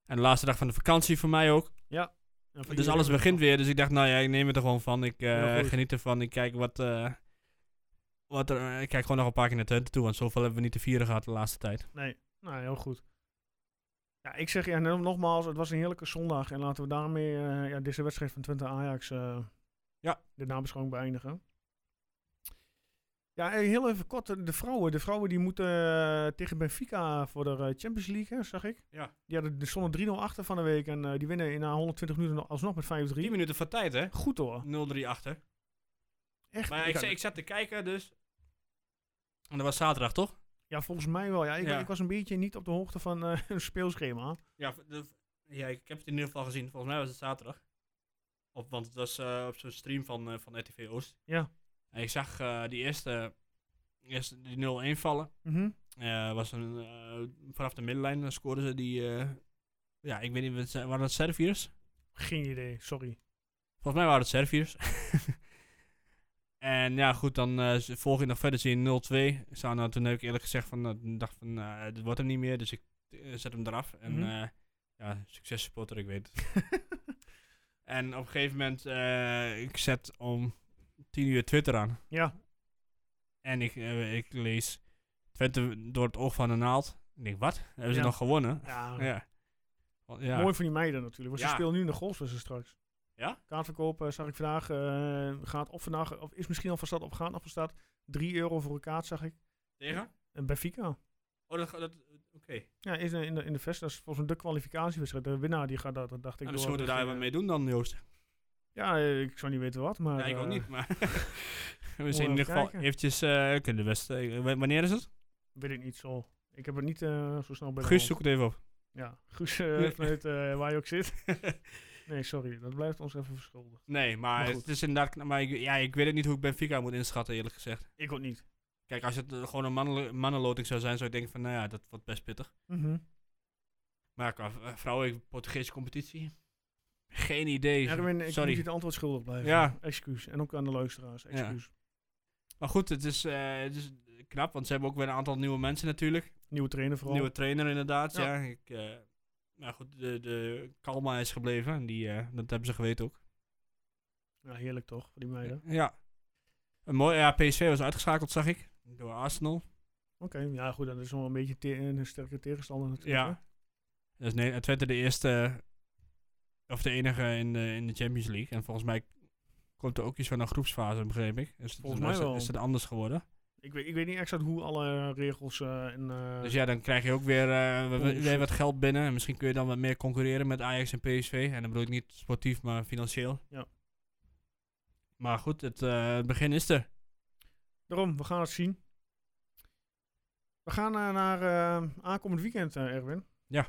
Speaker 2: En de laatste dag van de vakantie voor mij ook.
Speaker 1: Ja, voor
Speaker 2: Dus
Speaker 1: jullie
Speaker 2: alles
Speaker 1: ook nog.
Speaker 2: begint weer. Dus ik dacht, nou ja, ik neem het er gewoon van. Ik eh,
Speaker 1: Heel goed.
Speaker 2: geniet ervan. Ik kijk wat, eh, wat er. eh, ik kijk gewoon nog een paar keer naar Twente toe. Want zoveel hebben we niet te vieren gehad de laatste tijd.
Speaker 1: Nee, nou heel goed. Ja, ik zeg ja, no- nogmaals, het was een heerlijke zondag. En laten we daarmee eh, ja, deze wedstrijd van Twente Ajax eh,
Speaker 2: Ja.
Speaker 1: de nabeschouwing beëindigen. Ja, eh, heel even kort, eh, de vrouwen. De vrouwen die moeten eh, tegen Benfica voor de eh, Champions League, hè, zag ik.
Speaker 2: Ja.
Speaker 1: Die hadden de stonden 3-0 achter van de week en eh, die winnen in na 120 minuten nog- alsnog met 5-3.
Speaker 2: 10 minuten van tijd, hè?
Speaker 1: Goed hoor.
Speaker 2: 0-3 achter.
Speaker 1: Echt.
Speaker 2: Maar ik,
Speaker 1: had-
Speaker 2: zat- ik zat te kijken, dus. En dat was zaterdag, toch?
Speaker 1: ja, volgens mij wel. Ja, ik,
Speaker 2: Ja.
Speaker 1: ik was een beetje niet op de hoogte van eh, hun speelschema.
Speaker 2: Ja, v- de- ja, ik heb het in ieder geval gezien. Volgens mij was het zaterdag. Op, want het was eh, op zo'n stream van, eh, van RTV Oost.
Speaker 1: Ja.
Speaker 2: En ik zag eh, die eerste, eerste die 0-1 vallen.
Speaker 1: Mhm.
Speaker 2: Eh, was een, eh, vanaf de middenlijn eh, scoorden ze die. eh, ja, ik weet niet, wat ze- waren dat Serviërs?
Speaker 1: Geen idee, sorry.
Speaker 2: Volgens mij waren het Serviërs. en ja, goed, dan eh, ze volg je nog verder. Zie je 0-2. Ik zou nou toen heb ik eerlijk gezegd van. eh, dacht van, eh, dit wordt hem niet meer. Dus ik eh, zet hem eraf. En
Speaker 1: Mhm.
Speaker 2: eh, ja, succes supporter, ik weet het. en op een gegeven moment, eh, ik zet om 10 uur Twitter aan.
Speaker 1: ja.
Speaker 2: En ik, eh, ik lees Twente door het oog van de naald. Ik denk, wat? Hebben ze
Speaker 1: Ja.
Speaker 2: nog gewonnen?
Speaker 1: Ja,
Speaker 2: Ja. Want ja.
Speaker 1: Mooi voor die meiden natuurlijk. Want
Speaker 2: Ja.
Speaker 1: ze spelen nu in de golfswissel straks.
Speaker 2: Ja?
Speaker 1: Kaartverkoop eh, zag ik vandaag. eh, gaat op vandaag. Of is misschien al van start op gaat nog van start. 3 euro voor een kaart zag ik.
Speaker 2: Tegen?
Speaker 1: En bij Fika.
Speaker 2: Oh, dat... dat Oké.
Speaker 1: Ja, is in de, in de vest. Dat is volgens mij de kwalificatiewedstrijd. De winnaar die gaat dat, dat dacht ik.
Speaker 2: Nou,
Speaker 1: door.
Speaker 2: dus moeten we
Speaker 1: Dus,
Speaker 2: daar
Speaker 1: eh,
Speaker 2: wat mee doen dan, Joost?
Speaker 1: Ja, eh, ik zou niet weten wat. Maar,
Speaker 2: ja, ik ook
Speaker 1: eh,
Speaker 2: niet, maar... we
Speaker 1: even
Speaker 2: zijn in ieder geval
Speaker 1: kijken.
Speaker 2: eventjes... eh, kunnen de beste... eh, w- wanneer is het?
Speaker 1: Weet ik niet zo. Ik heb het niet eh, zo snel bij de
Speaker 2: Guus,
Speaker 1: hand.
Speaker 2: zoek het even op.
Speaker 1: Ja, Guus eh,
Speaker 2: Nee.
Speaker 1: vanuit eh, waar je ook zit. nee, sorry. Dat blijft ons even verschuldigd.
Speaker 2: Nee, maar,
Speaker 1: Maar goed.
Speaker 2: het is inderdaad... kna- Maar ik, ja, ik weet het niet hoe ik Benfica moet inschatten, eerlijk gezegd.
Speaker 1: Ik ook niet.
Speaker 2: Kijk, als het eh, gewoon een mannel- mannenloting zou zijn, zou ik denken van... Nou ja, dat wordt best pittig.
Speaker 1: Mhm.
Speaker 2: Maar qua v- eh, vrouwen, Portugese competitie? Geen idee.
Speaker 1: Erwin, ik
Speaker 2: Sorry.
Speaker 1: moet je het antwoord schuldig blijven.
Speaker 2: Ja.
Speaker 1: Excuus. En ook aan de luisteraars. Excuus.
Speaker 2: Maar goed, het is, eh, het is knap, want ze hebben ook weer een aantal nieuwe mensen natuurlijk.
Speaker 1: Nieuwe trainer vooral.
Speaker 2: Nieuwe trainer inderdaad, ja.
Speaker 1: Ja.
Speaker 2: Ik, eh, nou goed, de, de Kalma is gebleven en die, eh, dat hebben ze geweten ook.
Speaker 1: Ja, heerlijk toch, voor die meiden.
Speaker 2: Ja. Een mooi, ja, PSV was uitgeschakeld, zag ik, door Arsenal.
Speaker 1: Oké, ja goed, dat is wel een beetje te- een sterke tegenstander natuurlijk.
Speaker 2: Ja. Dus nee, Twente de eerste, eh, of de enige in de, in de Champions League. En volgens mij komt er ook iets van een groepsfase, begreep ik. Dus
Speaker 1: Volgens
Speaker 2: dan is
Speaker 1: mij
Speaker 2: het-
Speaker 1: wel.
Speaker 2: Is het anders geworden?
Speaker 1: Ik weet, ik weet niet exact hoe alle regels eh, en... eh,
Speaker 2: Dus ja, dan krijg je ook weer, eh, we- we-
Speaker 1: Oeh,
Speaker 2: weer wat geld binnen. En misschien kun je dan wat meer concurreren met Ajax en PSV. En dan bedoel ik niet sportief, maar financieel.
Speaker 1: Ja.
Speaker 2: Maar goed, het eh, begin is er.
Speaker 1: Daarom, we gaan het zien. We gaan eh, naar eh, aankomend weekend, eh, Erwin.
Speaker 2: Ja.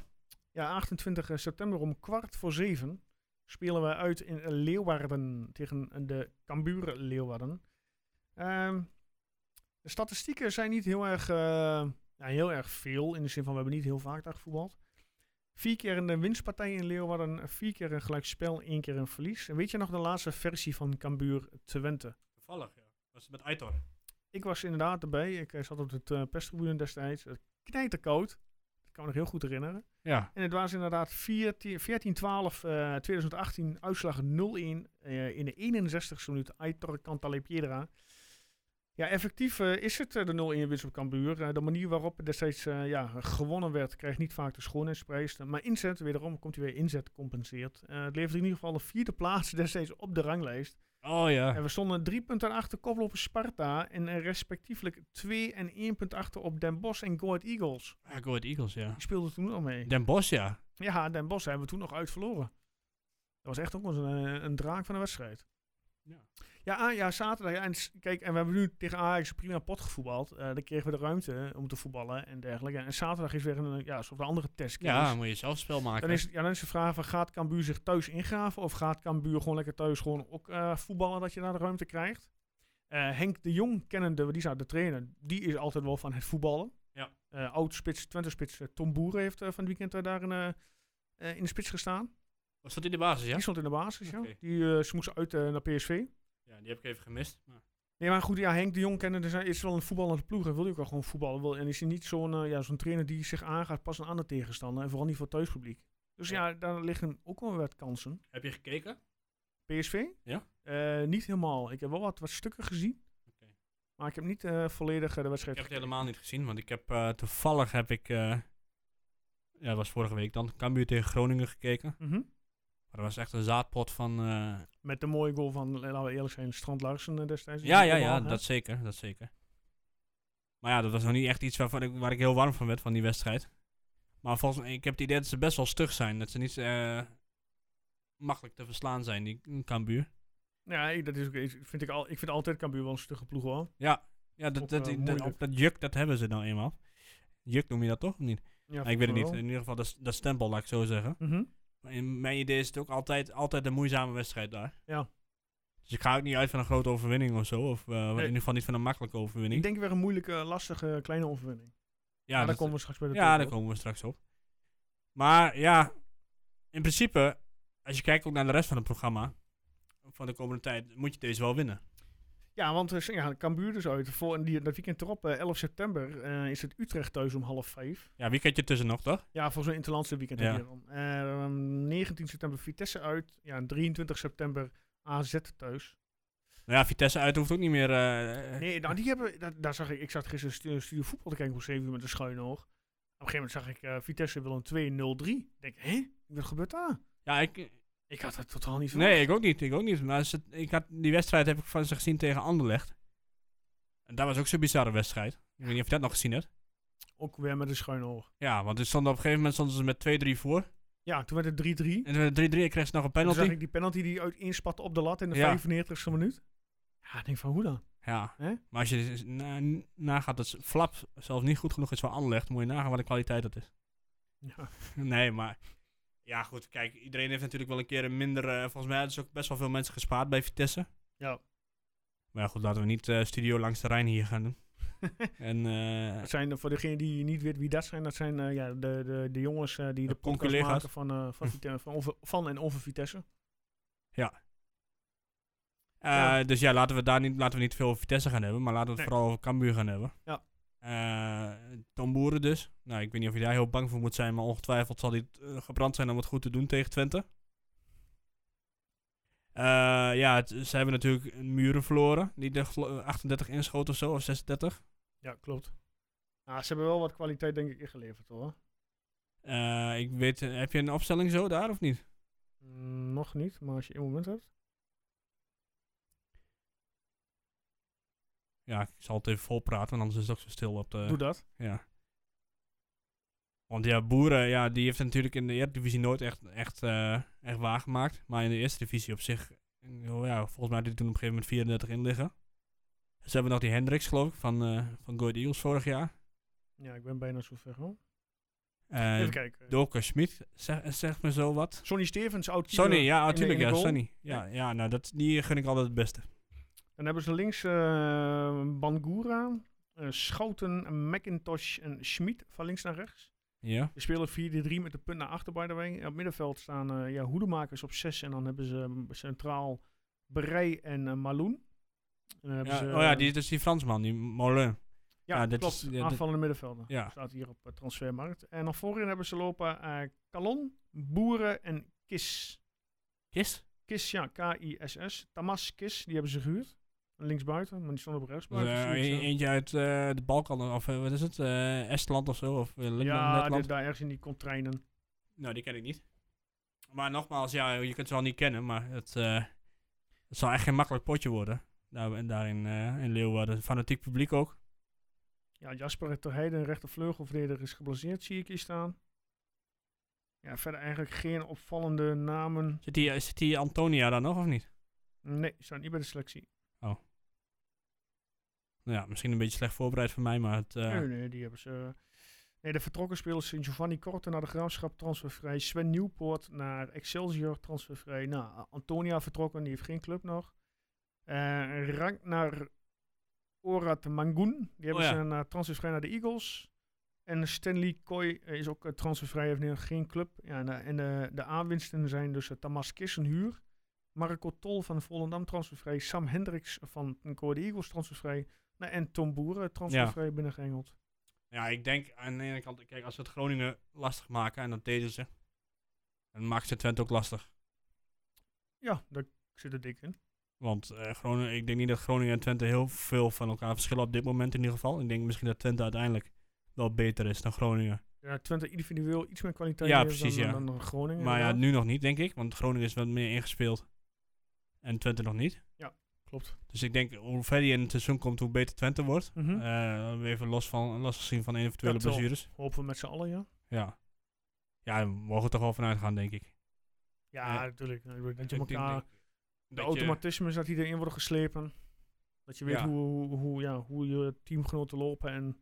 Speaker 1: Ja, 28 september om kwart voor zeven spelen we uit in Leeuwarden tegen eh, de Cambuur Leeuwarden. Ehm, de statistieken zijn niet heel erg, eh, ja, heel erg veel, in de zin van we hebben niet heel vaak daar gevoetbald. Vier keer een eh, winstpartij in Leeuwarden, vier keer een gelijkspel, één keer een verlies. En weet je nog de laatste versie van Cambuur Twente?
Speaker 2: Toevallig, ja. Was het met Aitor?
Speaker 1: Ik was inderdaad erbij. Ik eh, zat op de eh, perstribune destijds. Het knijter koud. Dat kan me nog heel goed herinneren.
Speaker 2: Ja,
Speaker 1: En het was inderdaad 14 14-12 eh, 2018, uitslag 0-1 eh, in de 61ste minuut. Aitor Cantale Piedra. Ja, effectief eh, is het eh, de 0-1 winst op Cambuur. Eh, de manier waarop er destijds eh, ja, gewonnen werd, krijgt niet vaak de schoonheidsprijs. Eh, Maar inzet, wederom komt hij weer inzet compenseert. Eh, het levert in ieder geval de vierde plaats destijds op de ranglijst.
Speaker 2: oh ja.
Speaker 1: En we stonden drie punten achter koploper Sparta en eh, respectievelijk twee en één punt achter op Den Bosch en Goat Eagles.
Speaker 2: Ja, Go Ahead Eagles, ja.
Speaker 1: Die speelden toen al mee.
Speaker 2: Den Bosch, ja.
Speaker 1: Ja, Den Bosch hebben we toen nog uit verloren. Dat was echt ook wel eens een, eh, een draak van de wedstrijd.
Speaker 2: Ja.
Speaker 1: Ja, ah, ja zaterdag. ja, en s- kijk, en we hebben nu tegen Ajax een prima pot gevoetbald. Eh, dan kregen we de ruimte om te voetballen en dergelijke. En zaterdag is weer een, eh, ja, soort van andere test.
Speaker 2: Ja, dan moet je zelf spel maken.
Speaker 1: Dan is, ja, dan is de vraag van gaat Cambuur zich thuis ingraven of gaat Cambuur gewoon lekker thuis gewoon ook eh, voetballen dat je daar de ruimte krijgt? Eh, Henk de Jong, kennende, want die zou de trainer, die is altijd wel van het voetballen.
Speaker 2: Ja.
Speaker 1: Eh, Oud-spits, Twente-spits, eh, Tom Boeren heeft eh, van het weekend eh, daar in, eh, eh, in de spits gestaan.
Speaker 2: Was dat in de basis, ja?
Speaker 1: Die stond in de basis, ja.
Speaker 2: Oké.
Speaker 1: Die, eh, ze moesten uit eh, naar PSV.
Speaker 2: Ja, die heb ik even gemist. Maar...
Speaker 1: Nee, maar goed, ja, Henk de Jong kennende zijn- is wel een voetballende ploeg en wil ook wel gewoon voetballen. Wil, en is hij niet zo'n eh, ja, zo'n trainer die zich aangaat pas een andere tegenstander en vooral niet voor thuispubliek. Dus ja,
Speaker 2: Ja.
Speaker 1: daar liggen ook wel wat kansen.
Speaker 2: Heb je gekeken?
Speaker 1: PSV?
Speaker 2: Ja.
Speaker 1: Eh, niet helemaal. Ik heb wel wat, wat stukken gezien.
Speaker 2: Oké.
Speaker 1: Maar ik heb niet eh, volledig eh, de
Speaker 2: Ik
Speaker 1: wedstrijd
Speaker 2: heb het
Speaker 1: gekeken.
Speaker 2: helemaal niet gezien, want ik heb eh, toevallig heb ik, eh, ja, dat was vorige week dan, Cambuur tegen Groningen gekeken.
Speaker 1: Mhm.
Speaker 2: Maar dat was echt een zaadpot van, eh,
Speaker 1: Met de mooie goal van, eh, laten we eerlijk zijn, Strand Larsen eh, destijds.
Speaker 2: ja, ja,
Speaker 1: Die
Speaker 2: ja,
Speaker 1: bal, hè?
Speaker 2: dat zeker, dat zeker. Maar ja, dat was nog niet echt iets waarvan ik, waar ik heel warm van werd, van die wedstrijd. Maar volgens mij, ik heb het idee dat ze best wel stug zijn, dat ze niet eh, makkelijk te verslaan zijn, die Cambuur.
Speaker 1: Ja, ik- dat is ook, ik, vind ik, al, ik vind altijd Cambuur wel een stugge ploeg hoor.
Speaker 2: Ja,
Speaker 1: Ook,
Speaker 2: dat, dat,
Speaker 1: eh,
Speaker 2: dat,
Speaker 1: moeilijk.
Speaker 2: dat juk, dat hebben ze nou eenmaal. Juk noem je dat toch, of niet? Nou,
Speaker 1: Ja,
Speaker 2: ik weet
Speaker 1: volgens
Speaker 2: het
Speaker 1: mij
Speaker 2: niet, in ieder geval dat, dat stempel, laat ik zo zeggen.
Speaker 1: wel. Mhm.
Speaker 2: Maar In mijn idee is het ook altijd, altijd een moeizame wedstrijd daar.
Speaker 1: Ja.
Speaker 2: Dus ik ga ook niet uit van een grote overwinning of zo. Of eh, in ieder geval niet van een makkelijke
Speaker 1: Ik
Speaker 2: overwinning.
Speaker 1: denk weer een moeilijke, lastige, kleine overwinning.
Speaker 2: ja,
Speaker 1: Ja, daar
Speaker 2: dat-
Speaker 1: komen we straks bij de
Speaker 2: ja,
Speaker 1: top
Speaker 2: daar
Speaker 1: op.
Speaker 2: komen we straks op. Maar ja, in principe, als je kijkt ook naar de rest van het programma. Van de komende tijd moet je deze wel winnen.
Speaker 1: Ja, want eh, ja, Cambuur dus uit. Voor, en die, dat weekend erop, eh, 11 september, eh, is het Utrecht thuis om half vijf.
Speaker 2: Ja, wie kent je tussen nog, toch?
Speaker 1: Ja, voor zo'n interlandse weekend.
Speaker 2: Ja.
Speaker 1: heb je dan. Ehm, 19 september Vitesse uit. Ja, en 23 september AZ thuis.
Speaker 2: Nou ja, Vitesse uit hoeft ook niet meer. eh,
Speaker 1: Nee, nou, die hebben, dat, daar zag ik, ik zat gisteren stu- studio voetbal te kijken op 7 uur met een schuine oog. Op een gegeven moment zag ik eh, Vitesse wil een 2-0-3. Ik denk, hé, wat gebeurt daar?
Speaker 2: Ja, ik,
Speaker 1: Ik had het totaal niet verwacht.
Speaker 2: Nee, ik ook niet. Ik ook niet. Maar ze- ik had, die wedstrijd heb ik van ze gezien tegen Anderlecht. En dat was ook zo'n bizarre wedstrijd. Ik weet niet of je dat nog gezien hebt.
Speaker 1: Ook weer met een schuine oog.
Speaker 2: Ja, want het stond op een gegeven moment stonden ze met 2-3 voor.
Speaker 1: Ja, toen werd het 3-3.
Speaker 2: En toen werd het 3-3 en kreeg ze nog een
Speaker 1: Toen zag
Speaker 2: penalty.
Speaker 1: ik die penalty die uit inspatte op de lat in de
Speaker 2: Ja.
Speaker 1: 95ste minuut. Ja, ik denk van, hoe dan?
Speaker 2: Ja.
Speaker 1: Hè?
Speaker 2: Maar als je na- nagaat dat ze- Flap zelfs niet goed genoeg is voor Anderlecht, moet je nagaan wat de kwaliteit dat is.
Speaker 1: Ja.
Speaker 2: nee, maar... Ja, goed. Kijk, iedereen heeft natuurlijk wel een keer een minder... eh, volgens mij hadden ze ook best wel veel mensen gespaard bij Vitesse.
Speaker 1: Ja.
Speaker 2: Maar ja, goed, laten we niet eh, studio langs de Rijn hier gaan doen. en... eh,
Speaker 1: Dat zijn eh, voor degenen die niet weten wie dat zijn, dat zijn eh, ja, de, de, de jongens eh, die de, podcast
Speaker 2: conculega's. Hm.
Speaker 1: maken van, eh, van, Vite- van, over- van en over Vitesse.
Speaker 2: Eh,
Speaker 1: Ja.
Speaker 2: Dus ja, laten we daar niet, laten we niet veel over Vitesse gaan hebben, maar laten we het
Speaker 1: Nee.
Speaker 2: vooral over Cambuur gaan hebben.
Speaker 1: Ja.
Speaker 2: Eh, Tom Boeren dus. Nou, ik weet niet of je daar heel bang voor moet zijn, maar ongetwijfeld zal hij eh, gebrand zijn om het goed te doen tegen Twente. Eh, ja, het- ze hebben natuurlijk Muren verloren, die er gelo- 38 eh, inschoten of zo, of 36.
Speaker 1: Ja, klopt. Nou, ze hebben wel wat kwaliteit denk ik ingeleverd hoor.
Speaker 2: Eh, ik weet, eh, heb je een opstelling zo daar of niet?
Speaker 1: Mm, nog niet, maar als je één moment hebt.
Speaker 2: Ja, ik zal het even volpraten, want anders is het ook zo stil op de...
Speaker 1: Doe dat.
Speaker 2: Ja. Want ja, Boeren, ja, die heeft het natuurlijk in de Eredivisie nooit echt, echt, eh, echt waargemaakt. Maar in de Eerste Divisie op zich, eh, ja, volgens mij had hij toen op een gegeven moment 34 in liggen. Ze hebben nog die Hendricks, geloof ik, van, eh van Go Ahead Eagles vorig jaar.
Speaker 1: Ja, ik ben bijna zover hoor.
Speaker 2: Eh
Speaker 1: Even kijken.
Speaker 2: Doka Schmid, zeg, zegt me zo wat.
Speaker 1: Sonny Stevens, oud keeper
Speaker 2: Sonny, ja,
Speaker 1: in de- in
Speaker 2: natuurlijk,
Speaker 1: de
Speaker 2: ja,
Speaker 1: goal.
Speaker 2: Sonny. Ja, ja nou, dat, die gun ik altijd het beste.
Speaker 1: Dan hebben ze links eh, Bangura, eh, Schouten, McIntosh en Schmid van links naar rechts.
Speaker 2: Ja,
Speaker 1: Ze spelen 4-3 met de punt naar achter, by the way. Op het middenveld staan eh, ja, hoedemakers op 6 en dan hebben ze mm, centraal Berei en eh, Maloen. En dan hebben
Speaker 2: ja
Speaker 1: ze,
Speaker 2: oh ja,
Speaker 1: eh,
Speaker 2: die, dat is die Fransman, die Molin.
Speaker 1: ja,
Speaker 2: ja, dit
Speaker 1: klopt,
Speaker 2: is- ja, dit-
Speaker 1: aanvallende middenvelder.
Speaker 2: Ja.
Speaker 1: Staat hier op eh, transfermarkt. En dan voorin hebben ze lopen eh Kalon, Boeren en Kis.
Speaker 2: Kist?
Speaker 1: Kis, ja, K-I-S-S. Tamas Kis, die hebben ze gehuurd. Linksbuiten, maar die stond op
Speaker 2: Dus,
Speaker 1: rechtsbuiten.
Speaker 2: eh,
Speaker 1: zoiets,
Speaker 2: e-
Speaker 1: eh.
Speaker 2: eentje uit eh, de Balkan, of eh, wat is het? eh, Estland of zo, of eh, Letland.
Speaker 1: ja,
Speaker 2: Letland.
Speaker 1: dit, daar ergens in die contrainen.
Speaker 2: Nou, die ken ik niet. Maar nogmaals, ja, je kunt ze wel niet kennen, maar het, eh, het zal echt geen makkelijk potje worden. Daar, en daarin eh, in Leeuwarden, fanatiek publiek ook.
Speaker 1: Ja, Jasper Terheide, rechtervleugelverdediger, is geblesseerd, zie ik hier staan. Ja, verder eigenlijk geen opvallende namen.
Speaker 2: Zit die, eh, zit die Antonia daar nog of niet?
Speaker 1: Nee, staat niet bij de selectie.
Speaker 2: Nou ja, misschien een beetje slecht voorbereid van mij, maar het... eh,
Speaker 1: Nee, nee, die hebben ze... eh, Nee, de vertrokken spelers zijn Giovanni Korte naar de Graafschap transfervrij. Sven Nieuwpoort naar Excelsior transfervrij. Nou, Antonia vertrokken, die heeft geen club nog. Eh Rank naar Orat Mangun. Die hebben
Speaker 2: ja.
Speaker 1: ze naar transfervrij naar de Eagles. En Stanley Kooi eh, is ook eh, transfervrij, heeft nu geen club. Ja, en eh, en eh, de aanwinsten zijn dus eh, Tamas Kissen huur. Marco Tol van Volendam transfervrij. Sam Hendricks van Kooi de Eagles transfervrij. Nou, en Tom Boeren transfervrij binnengeengeld.
Speaker 2: Ja, ik denk aan de ene kant, kijk, als we het Groningen lastig maken, en dat deden ze, dan maakt ze Twente ook lastig.
Speaker 1: Ja, daar zit er dik in.
Speaker 2: Want eh, Groningen, ik denk niet dat Groningen en Twente heel veel van elkaar verschillen op dit moment in ieder geval. Ik denk misschien dat Twente uiteindelijk wel beter is dan Groningen.
Speaker 1: Ja, Twente individueel iets meer kwaliteit
Speaker 2: Ja,
Speaker 1: heeft
Speaker 2: precies,
Speaker 1: dan,
Speaker 2: ja.
Speaker 1: dan, dan Groningen.
Speaker 2: Maar ja,
Speaker 1: inderdaad.
Speaker 2: nu nog niet, denk ik. Want Groningen is wat meer ingespeeld. En Twente nog niet.
Speaker 1: klopt.
Speaker 2: Dus ik denk, hoe verder je in het seizoen komt, hoe beter Twente wordt.
Speaker 1: Mhm.
Speaker 2: Eh, even los, van, los gezien van eventuele
Speaker 1: Dat wel.
Speaker 2: blessures.
Speaker 1: Hopen we met z'n allen, ja.
Speaker 2: Ja. Ja, daar mogen we toch wel vanuit gaan, denk ik.
Speaker 1: Ja,
Speaker 2: Ja.
Speaker 1: natuurlijk. Nou, ik bedoel, Dat je
Speaker 2: Ik denk-
Speaker 1: elkaar,
Speaker 2: denk
Speaker 1: de
Speaker 2: dat je-
Speaker 1: automatismes dat die erin worden geslepen. Dat je weet
Speaker 2: Ja.
Speaker 1: hoe, hoe, hoe, ja, hoe je teamgenoten lopen en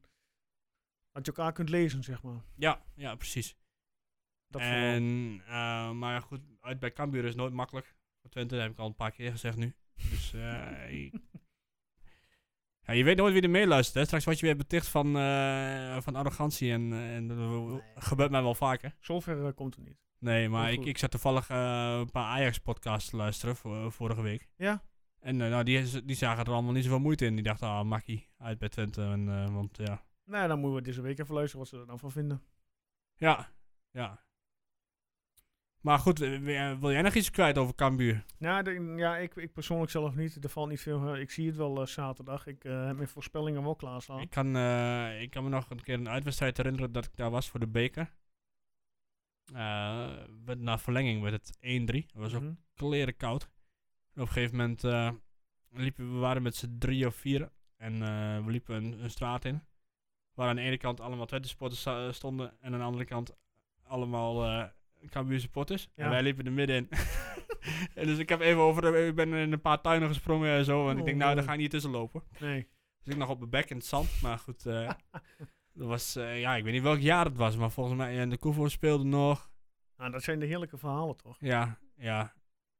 Speaker 1: dat je elkaar kunt lezen, zeg maar.
Speaker 2: Ja, ja, precies.
Speaker 1: Dat
Speaker 2: en, eh, maar goed, uit bij Cambuur is nooit makkelijk. Voor Twente dat heb ik al een paar keer gezegd nu. Dus eh, ik- ja, je weet nooit wie er meeluistert. Hè. Straks word je weer beticht van, eh, van arrogantie. En, en dat gebeurt mij wel vaker.
Speaker 1: Zover eh, komt het niet.
Speaker 2: Nee, maar
Speaker 1: Heel
Speaker 2: ik,
Speaker 1: goed.
Speaker 2: ik zat toevallig eh, een paar Ajax-podcasts te luisteren vo- vorige week.
Speaker 1: Ja.
Speaker 2: En eh, nou, die, die zagen er allemaal niet zoveel moeite in. Die dachten, ah, makkie, uit bij Twente. En, eh, want ja,
Speaker 1: Nou, dan moeten we deze week even luisteren wat ze er dan van vinden.
Speaker 2: ja, ja. Maar goed, eh, wil jij- wil jij nog iets kwijt over Cambuur?
Speaker 1: Nou, de- ja, ik, ik persoonlijk zelf niet. Er valt niet veel. eh, ik zie het wel eh, zaterdag. Ik eh, heb mijn voorspellingen wel klaarstaan.
Speaker 2: Ik kan, eh, ik kan me nog een keer een uitwedstrijd herinneren dat ik daar was voor de beker. Eh, werd- na verlenging werd het 1-3. Dat was ook
Speaker 1: Mhm.
Speaker 2: kleren koud. En op een gegeven moment eh, liepen we waren met z'n drie of vier. En eh, we liepen een, een straat in. Waar aan de ene kant allemaal Twente supporters sta- stonden. En aan de andere kant allemaal eh Cambuur supporters.
Speaker 1: Ja.
Speaker 2: En wij liepen er middenin. en dus ik heb even over de, ik ben in een paar tuinen gesprongen en zo. Want ik
Speaker 1: Oh,
Speaker 2: denk, nou, daar
Speaker 1: mooi.
Speaker 2: ga je niet tussen lopen.
Speaker 1: Nee.
Speaker 2: Dus ik nog op mijn bek in het zand. Maar goed, eh, dat was, eh, ja, ik weet niet welk jaar het was. Maar volgens mij, en de Koevo speelde nog.
Speaker 1: Nou, dat zijn de heerlijke verhalen, toch?
Speaker 2: Ja, ja.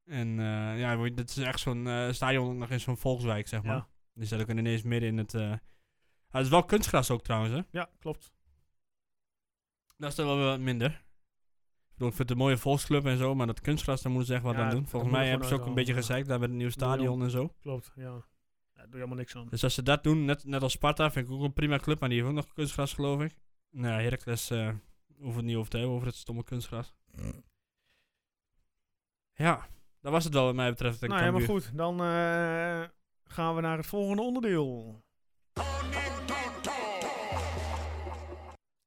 Speaker 2: En eh, ja, we- dit is echt zo'n eh, stadion ook nog in zo'n volkswijk, zeg maar.
Speaker 1: Ja.
Speaker 2: Dus dat ook ineens midden in het... eh Ah, het is wel kunstgras ook trouwens, hè.
Speaker 1: Ja, klopt.
Speaker 2: Dat is dan wel weer wat minder. Ik bedoel, ik vind het een mooie volksclub en zo, maar dat kunstgras, daar moeten ze echt wat
Speaker 1: Ja,
Speaker 2: aan doen.
Speaker 1: dat
Speaker 2: Volgens
Speaker 1: moet
Speaker 2: mij
Speaker 1: er
Speaker 2: hebben ze ook een
Speaker 1: gewoon
Speaker 2: beetje
Speaker 1: uithouden,
Speaker 2: gezeikt daar met het nieuwe stadion en zo.
Speaker 1: Klopt, ja. ja daar doe je helemaal niks aan.
Speaker 2: Dus als ze dat doen, net, net als Sparta, vind ik ook een prima club, maar die heeft ook nog kunstgras, geloof ik. Nou, Heracles eh hoeven het niet over te hebben, over het stomme kunstgras. Ja, dat was het wel wat mij betreft.
Speaker 1: Nou, helemaal goed. Dan eh, gaan we naar het volgende onderdeel.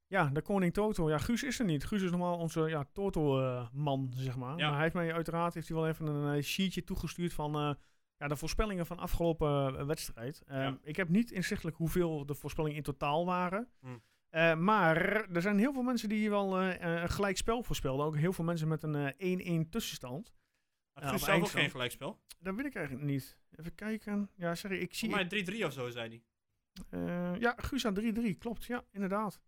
Speaker 1: Ja, de koning Toto. Ja, Guus is er niet. Guus is normaal onze ja, Toto-man, zeg maar.
Speaker 2: Ja.
Speaker 1: Maar hij heeft mij uiteraard heeft hij wel even een eh, sheetje toegestuurd van... eh, Ja, de voorspellingen van afgelopen eh, wedstrijd. Ehm,
Speaker 2: Ja.
Speaker 1: Ik heb niet inzichtelijk hoeveel de voorspellingen in totaal waren.
Speaker 2: Hmm.
Speaker 1: Eh, maar er zijn heel veel mensen die hier wel eh, eh, een gelijk spel voorspelden. Ook heel veel mensen met een eh, 1-1 tussenstand.
Speaker 2: Maar
Speaker 1: Ja,
Speaker 2: het
Speaker 1: op
Speaker 2: is zelf ook
Speaker 1: eindstand.
Speaker 2: geen gelijkspel.
Speaker 1: Dat weet ik eigenlijk niet. Even kijken. Ja, sorry, ik zie...
Speaker 2: Maar 3-3 of zo, zei hij.
Speaker 1: Eh, ja, Guus aan 3-3, klopt. Ja, inderdaad.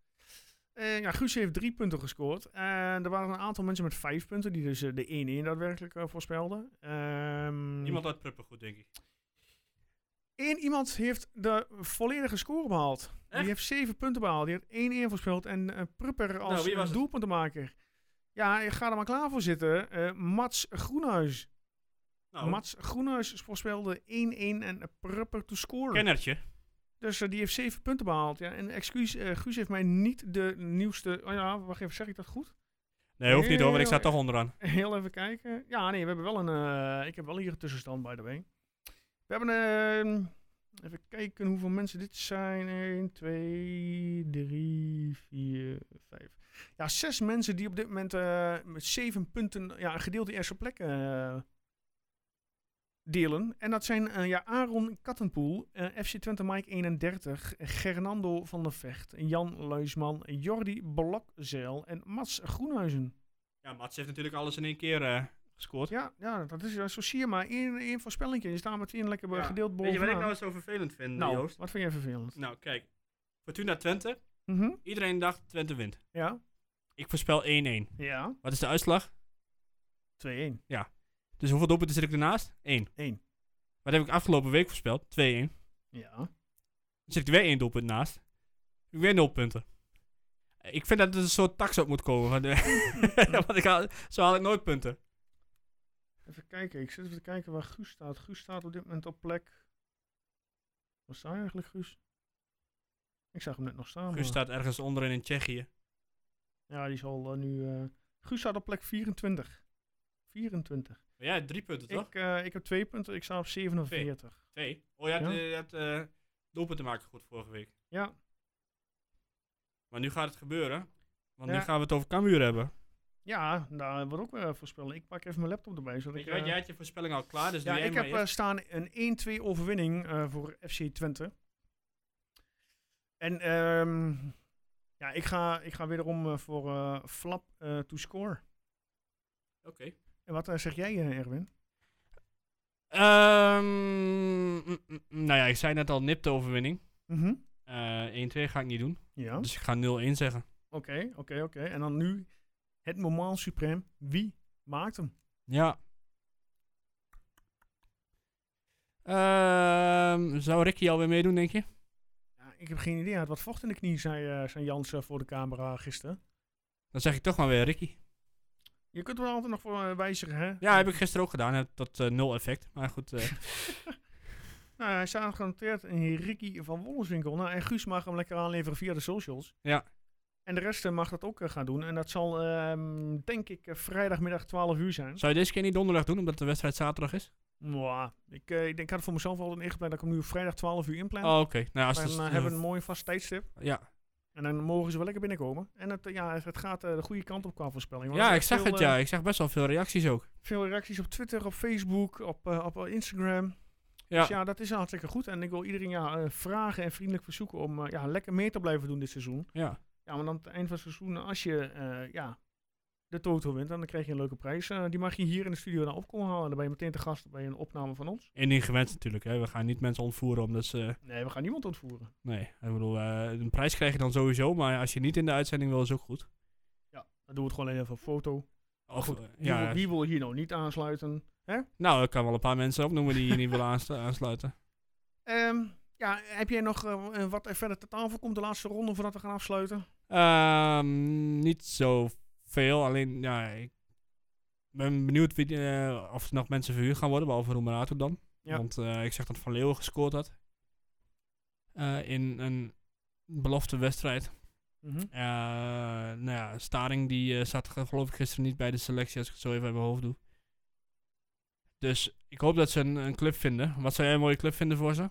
Speaker 1: Eh, ja, Guus heeft drie punten gescoord. En er waren een aantal mensen met vijf punten die dus eh, de 1-1 daadwerkelijk eh, voorspelden. Ehm,
Speaker 2: Iemand uit Pruppen goed, denk ik.
Speaker 1: Eén iemand heeft de volledige score behaald.
Speaker 2: Echt? Nou,
Speaker 1: Die heeft zeven punten behaald. Die heeft 1-1 voorspeld en eh, Prupper als
Speaker 2: wie was
Speaker 1: eh,
Speaker 2: het?
Speaker 1: doelpuntenmaker. Ja, ik ga er maar klaar voor zitten. Eh, Mats Groenhuis.
Speaker 2: Nou,
Speaker 1: Mats Groenhuis voorspelde 1-1 en eh, Prupper to score.
Speaker 2: kennertje.
Speaker 1: Dus eh, die heeft zeven punten behaald. Ja. En excuus, eh, Guus heeft mij niet de nieuwste... Oh ja, wacht even, zeg ik dat goed?
Speaker 2: Nee, hoeft niet hoor, want ik sta
Speaker 1: Heel
Speaker 2: toch onderaan.
Speaker 1: Heel even kijken. Ja, nee, we hebben wel een... eh, ik heb wel hier een tussenstand, by the way. We hebben een... even kijken hoeveel mensen dit zijn. 1, 2, 3, 4, 5. Ja, zes mensen die op dit moment eh, met zeven punten ja, een gedeelde eerste plek eh, delen. En dat zijn eh, ja, Aaron Kattenpoel, eh, FC Twente Mike 31, Gernando van der Vecht, Jan Luisman, Jordi Blokzeil en Mats Groenhuizen.
Speaker 2: Ja, Mats heeft natuurlijk alles in één keer eh, gescoord.
Speaker 1: Ja, ja, dat is eh, zo zie je maar. Eén, één voorspellingje. Je staat meteen lekker eh,
Speaker 2: Ja.
Speaker 1: gedeeld
Speaker 2: Weet je
Speaker 1: bovenaan.
Speaker 2: wat ik nou zo vervelend vind,
Speaker 1: Nou,
Speaker 2: Joost?
Speaker 1: wat vind jij vervelend?
Speaker 2: Nou, kijk. Fortuna Twente.
Speaker 1: Mhm,
Speaker 2: Iedereen dacht Twente wint.
Speaker 1: Ja,
Speaker 2: Ik voorspel 1-1.
Speaker 1: ja.
Speaker 2: Wat is de uitslag?
Speaker 1: 2-1.
Speaker 2: Dus hoeveel doelpunten zit ik ernaast? 1.
Speaker 1: Eén.
Speaker 2: Wat heb ik afgelopen week voorspeld? 2-1. Dan
Speaker 1: Ja.
Speaker 2: zit ik weer 1 doelpunt naast. Ik weer 0 punten. Eh, Ik vind dat er een soort tax op moet komen. Want, eh, want ik haal, zo haal ik nooit punten.
Speaker 1: Oh, Even kijken. Ik zit even te kijken waar Guus staat. Guus staat op dit moment op plek... Waar sta je eigenlijk, Guus? Ik zag hem net nog staan.
Speaker 2: Guus
Speaker 1: maar-
Speaker 2: staat ergens onderin in Tsjechië.
Speaker 1: Ja, die zal eh, nu... eh, Guus staat op plek 24. 24.
Speaker 2: Maar jij hebt 3 punten, toch?
Speaker 1: Ik, eh, ik heb twee punten. Ik sta op 47.
Speaker 2: Twee. Oh, je had,
Speaker 1: Ja.
Speaker 2: eh, je had eh, doelpunten maken goed vorige week.
Speaker 1: Ja.
Speaker 2: Maar nu gaat het gebeuren. Want
Speaker 1: Ja.
Speaker 2: nu gaan we het over Cambuur hebben.
Speaker 1: Ja, nou, wat ook weer voorspellen. Ik pak even mijn laptop erbij. Zodat
Speaker 2: Weet
Speaker 1: ik,
Speaker 2: je wat,
Speaker 1: eh,
Speaker 2: jij had je voorspelling al klaar, dus
Speaker 1: Ja,
Speaker 2: doe jij
Speaker 1: ik
Speaker 2: maar
Speaker 1: heb eh,
Speaker 2: eerst.
Speaker 1: staan een 1-2 overwinning eh, voor FC Twente. En ehm, ja, ik ga, ik ga wederom eh, voor eh, flap eh, to score.
Speaker 2: Oké.
Speaker 1: En wat eh, zeg jij, eh, Erwin?
Speaker 2: Ehm, mm, mm, mm, nou ja, ik zei net al nipte overwinning.
Speaker 1: Mhm.
Speaker 2: Eh, 1-2 ga ik niet doen.
Speaker 1: Ja, oké,
Speaker 2: Dus ik ga 0-1 zeggen.
Speaker 1: oké, oké. En dan nu het moment suprem. Wie maakt hem?
Speaker 2: Ja. Ehm, zou Ricky alweer meedoen, denk je?
Speaker 1: Ja, ik heb geen idee. Hij had wat vocht in de knie, zei, eh, zei Jans eh, voor de camera gisteren.
Speaker 2: Dan zeg ik toch maar weer Ricky.
Speaker 1: Je kunt er altijd nog voor eh, wijzigen, hè?
Speaker 2: Ja, heb ik gisteren ook gedaan. Heb tot eh, nul effect. Maar goed. eh,
Speaker 1: Nou, hij staat genoteerd in Ricky van Wollenswinkel. Nou, en Guus mag hem lekker aanleveren via de socials.
Speaker 2: Ja.
Speaker 1: En de rest eh, mag dat ook eh, gaan doen. En dat zal, ehm, denk ik, eh, vrijdagmiddag 12 uur zijn.
Speaker 2: zou je deze keer niet donderdag doen, omdat de wedstrijd zaterdag is?
Speaker 1: Mwah. Ik, eh, ik denk, ik had het voor mezelf al ingepland dat ik hem nu op vrijdag 12 uur inplan.
Speaker 2: Oh, oké. Nou, als
Speaker 1: en
Speaker 2: het,
Speaker 1: eh,
Speaker 2: eh,
Speaker 1: hebben we een mooi vast tijdstip.
Speaker 2: ja.
Speaker 1: En dan mogen ze wel lekker binnenkomen. En het, eh, ja, het- het gaat eh, de goede kant op qua voorspelling. hoor.
Speaker 2: ja,
Speaker 1: Er
Speaker 2: ik
Speaker 1: zijn
Speaker 2: zag
Speaker 1: veel,
Speaker 2: het
Speaker 1: eh,
Speaker 2: ja. Ik zag best wel veel reacties ook.
Speaker 1: Veel reacties op Twitter, op Facebook, op, eh, op eh, Instagram.
Speaker 2: Ja,
Speaker 1: Dus ja, dat is hartstikke goed. En ik wil iedereen ja, eh, vragen en vriendelijk verzoeken om eh, ja, lekker meer te blijven doen dit seizoen.
Speaker 2: ja.
Speaker 1: Ja, want aan het eind van het seizoen, als je eh, ja, de Toto wint, dan krijg je een leuke prijs. Eh, die mag je hier in de studio naar opkomen halen. Dan ben je meteen te gast bij een opname van ons.
Speaker 2: Indien gewenst natuurlijk. Hè. We gaan niet mensen ontvoeren omdat ze...
Speaker 1: Nee, we gaan niemand ontvoeren.
Speaker 2: nee, ik bedoel, eh, een prijs krijg je dan sowieso. Maar als je niet in de uitzending wil, is ook goed.
Speaker 1: Dan doen we het gewoon even op foto.
Speaker 2: Of,
Speaker 1: goed,
Speaker 2: eh,
Speaker 1: Wie, wil, wie wil hier nou niet aansluiten?
Speaker 2: Nou, ik kan wel een paar mensen opnoemen die je niet willen aanslu- aansluiten.
Speaker 1: Ehm, ja, heb jij nog eh, wat er verder ter tafel komt de laatste ronde voordat we gaan afsluiten?
Speaker 2: Ehm, niet zoveel. Alleen, ja, ik ben benieuwd wie, eh, of er nog mensen verhuurd gaan worden. Behalve Romerato dan.
Speaker 1: Ja.
Speaker 2: Want eh, ik zag dat Van Leeuwen gescoord had. Eh, in een belofte wedstrijd.
Speaker 1: Mhm.
Speaker 2: Eh, nou ja, Staring die eh, zat ge- geloof ik gisteren niet bij de selectie, als ik het zo even uit mijn hoofd doe. Dus ik hoop dat ze een, een club vinden. Wat zou jij een mooie club vinden voor ze?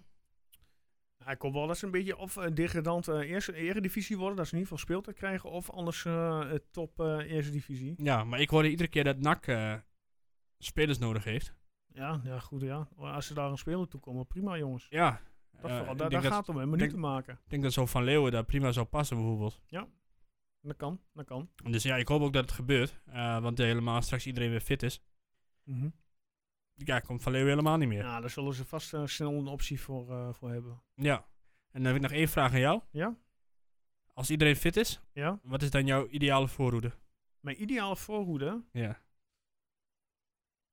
Speaker 1: Hij komt wel dat ze een beetje of een degradant eh, eerste eredivisie worden, dat ze in ieder geval speeltijd krijgen, of anders eh, eh, top eh, eerste divisie.
Speaker 2: Ja, maar ik hoorde iedere keer dat NAC eh, spelers nodig heeft.
Speaker 1: Ja, ja, goed, ja. Als ze daar een speler toe komen, prima jongens.
Speaker 2: Ja.
Speaker 1: Dat
Speaker 2: eh,
Speaker 1: vooral,
Speaker 2: ik
Speaker 1: daar
Speaker 2: denk
Speaker 1: daar
Speaker 2: dat-
Speaker 1: gaat het om, hè, minuten maken.
Speaker 2: Ik denk dat zo'n Van Leeuwen daar prima zou passen, bijvoorbeeld.
Speaker 1: Dat kan, dat kan.
Speaker 2: Dus ja, ik hoop ook dat het gebeurt. eh, want helemaal als straks iedereen weer fit is. Mhm. Ja, komt Van Leeuwen helemaal niet meer. Ja.
Speaker 1: Ja, daar zullen ze vast eh, snel een optie voor, eh, voor hebben.
Speaker 2: En dan heb ik nog één vraag aan jou.
Speaker 1: Ja?
Speaker 2: Als iedereen fit is,
Speaker 1: Ja?
Speaker 2: wat is dan jouw ideale voorhoede?
Speaker 1: Mijn ideale voorhoede...
Speaker 2: Ja.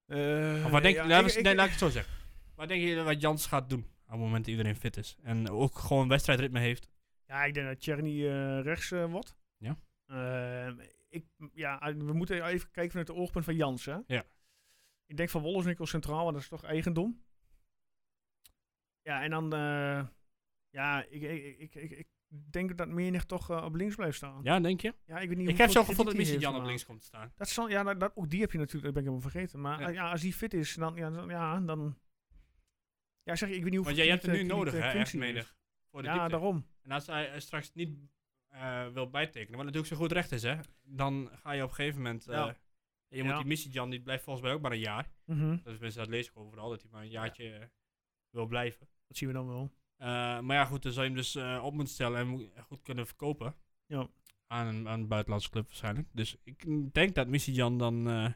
Speaker 1: eh,
Speaker 2: Of wat denk,
Speaker 1: ja,
Speaker 2: laat,
Speaker 1: ik-
Speaker 2: ik,
Speaker 1: ik-
Speaker 2: nee, laat ik het zo zeggen. Wat denk je wat Jans gaat doen op het moment dat iedereen fit is? En ook gewoon wedstrijdritme heeft.
Speaker 1: Ja, ik denk dat Tjerny eh, rechts eh, wordt.
Speaker 2: Ja.
Speaker 1: Ehm, ik, ja, we moeten even kijken vanuit het oogpunt van Jans. Hè?
Speaker 2: Ja.
Speaker 1: Ik denk van Wollesnikkel centraal, want dat is toch eigendom. Ja, en dan... eh, ja, ik, ik, ik, ik, ik denk dat Menig toch eh, op links blijft staan.
Speaker 2: Ja, denk je?
Speaker 1: Ja, ik weet niet
Speaker 2: Ik
Speaker 1: hoeveel
Speaker 2: heb zo
Speaker 1: kritiek
Speaker 2: gevoel dat
Speaker 1: die heeft
Speaker 2: misschien Jan op
Speaker 1: gemaakt.
Speaker 2: links komt te staan.
Speaker 1: Dat zal, ja, nou, dat, dat- ook die heb je natuurlijk, dat ben ik helemaal vergeten. Maar
Speaker 2: Ja.
Speaker 1: eh, ja, als die fit is, dan... Ja, dan, ja, dan ja, zeg ik, ik weet niet hoeveel...
Speaker 2: Want jij hebt
Speaker 1: kritiek,
Speaker 2: het nu
Speaker 1: eh,
Speaker 2: nodig,
Speaker 1: kritiek,
Speaker 2: hè,
Speaker 1: eh,
Speaker 2: echt
Speaker 1: functie
Speaker 2: menig.
Speaker 1: is.
Speaker 2: Voor de
Speaker 1: Ja,
Speaker 2: diepte.
Speaker 1: daarom.
Speaker 2: En als hij eh, straks niet eh, wil bijtekenen, wat natuurlijk zo goed recht is, hè, dan ga je op een gegeven moment. eh,
Speaker 1: Ja.
Speaker 2: Je moet
Speaker 1: Ja.
Speaker 2: die missie Jan, die blijft volgens mij ook maar een jaar.
Speaker 1: Mhm.
Speaker 2: Dat is mensen dat lees ik overal, dat hij maar een jaartje eh, wil blijven.
Speaker 1: Dat zien we dan wel.
Speaker 2: Eh, maar ja, goed, dan zou je hem dus eh, op moeten stellen en moet- goed kunnen verkopen.
Speaker 1: Ja.
Speaker 2: Aan een, aan een buitenlandse club waarschijnlijk. Dus ik denk dat Missie Jan dan eh,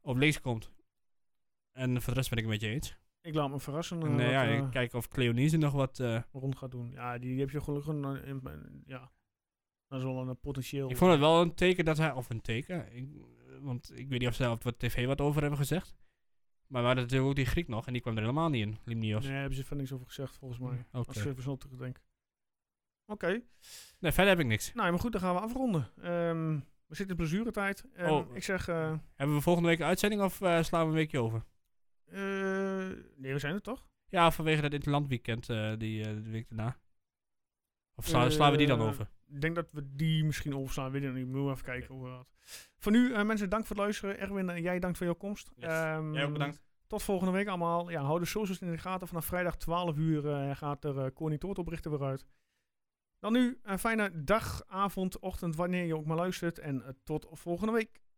Speaker 2: op links komt. En voor de rest ben ik het met je eens.
Speaker 1: Ik laat me verrassen
Speaker 2: en
Speaker 1: eh,
Speaker 2: eh,
Speaker 1: wat,
Speaker 2: ja,
Speaker 1: eh,
Speaker 2: ik kijk of Cleonise nog wat. eh,
Speaker 1: rond gaat doen. Ja, die, die heb je gelukkig. een- een- een- ja, dat is wel een potentieel.
Speaker 2: Ik vond het wel een teken dat hij, of een teken, ik, want ik weet niet of ze daar op de tv wat over hebben gezegd. Maar we hadden natuurlijk ook die Griek nog en die kwam er helemaal niet in, Limnios.
Speaker 1: Nee, hebben ze verder niks over gezegd, volgens mij.
Speaker 2: Mm. Oké.
Speaker 1: Als ik even snel terugdenk. Oké,
Speaker 2: Nee, verder heb ik niks.
Speaker 1: nou ja, maar goed, dan gaan we afronden. Ehm, we zitten in blessuretijd. Ehm,
Speaker 2: Oh.
Speaker 1: Ik zeg, eh,
Speaker 2: Hebben we volgende week een uitzending of eh, slaan we een weekje over?
Speaker 1: eh, nee, we zijn er toch?
Speaker 2: Ja, vanwege dat interlandweekend eh die eh, de week daarna. Of sla- slaan we die dan
Speaker 1: Eh,
Speaker 2: over?
Speaker 1: Ik denk dat we die misschien overslaan. Weet ik niet, moeten we even kijken hoe we dat. Voor nu, eh, mensen, dank voor het luisteren. Erwin, eh, jij dank voor jouw komst.
Speaker 2: Yes.
Speaker 1: Ehm,
Speaker 2: Jij ook bedankt.
Speaker 1: Tot volgende week allemaal. Ja, hou de socials in de gaten. Vanaf vrijdag 12 uur eh, gaat er eh Corny Toort oprichten weer uit. Dan nu een fijne dag, avond, ochtend, wanneer je ook maar luistert. En eh, tot volgende week.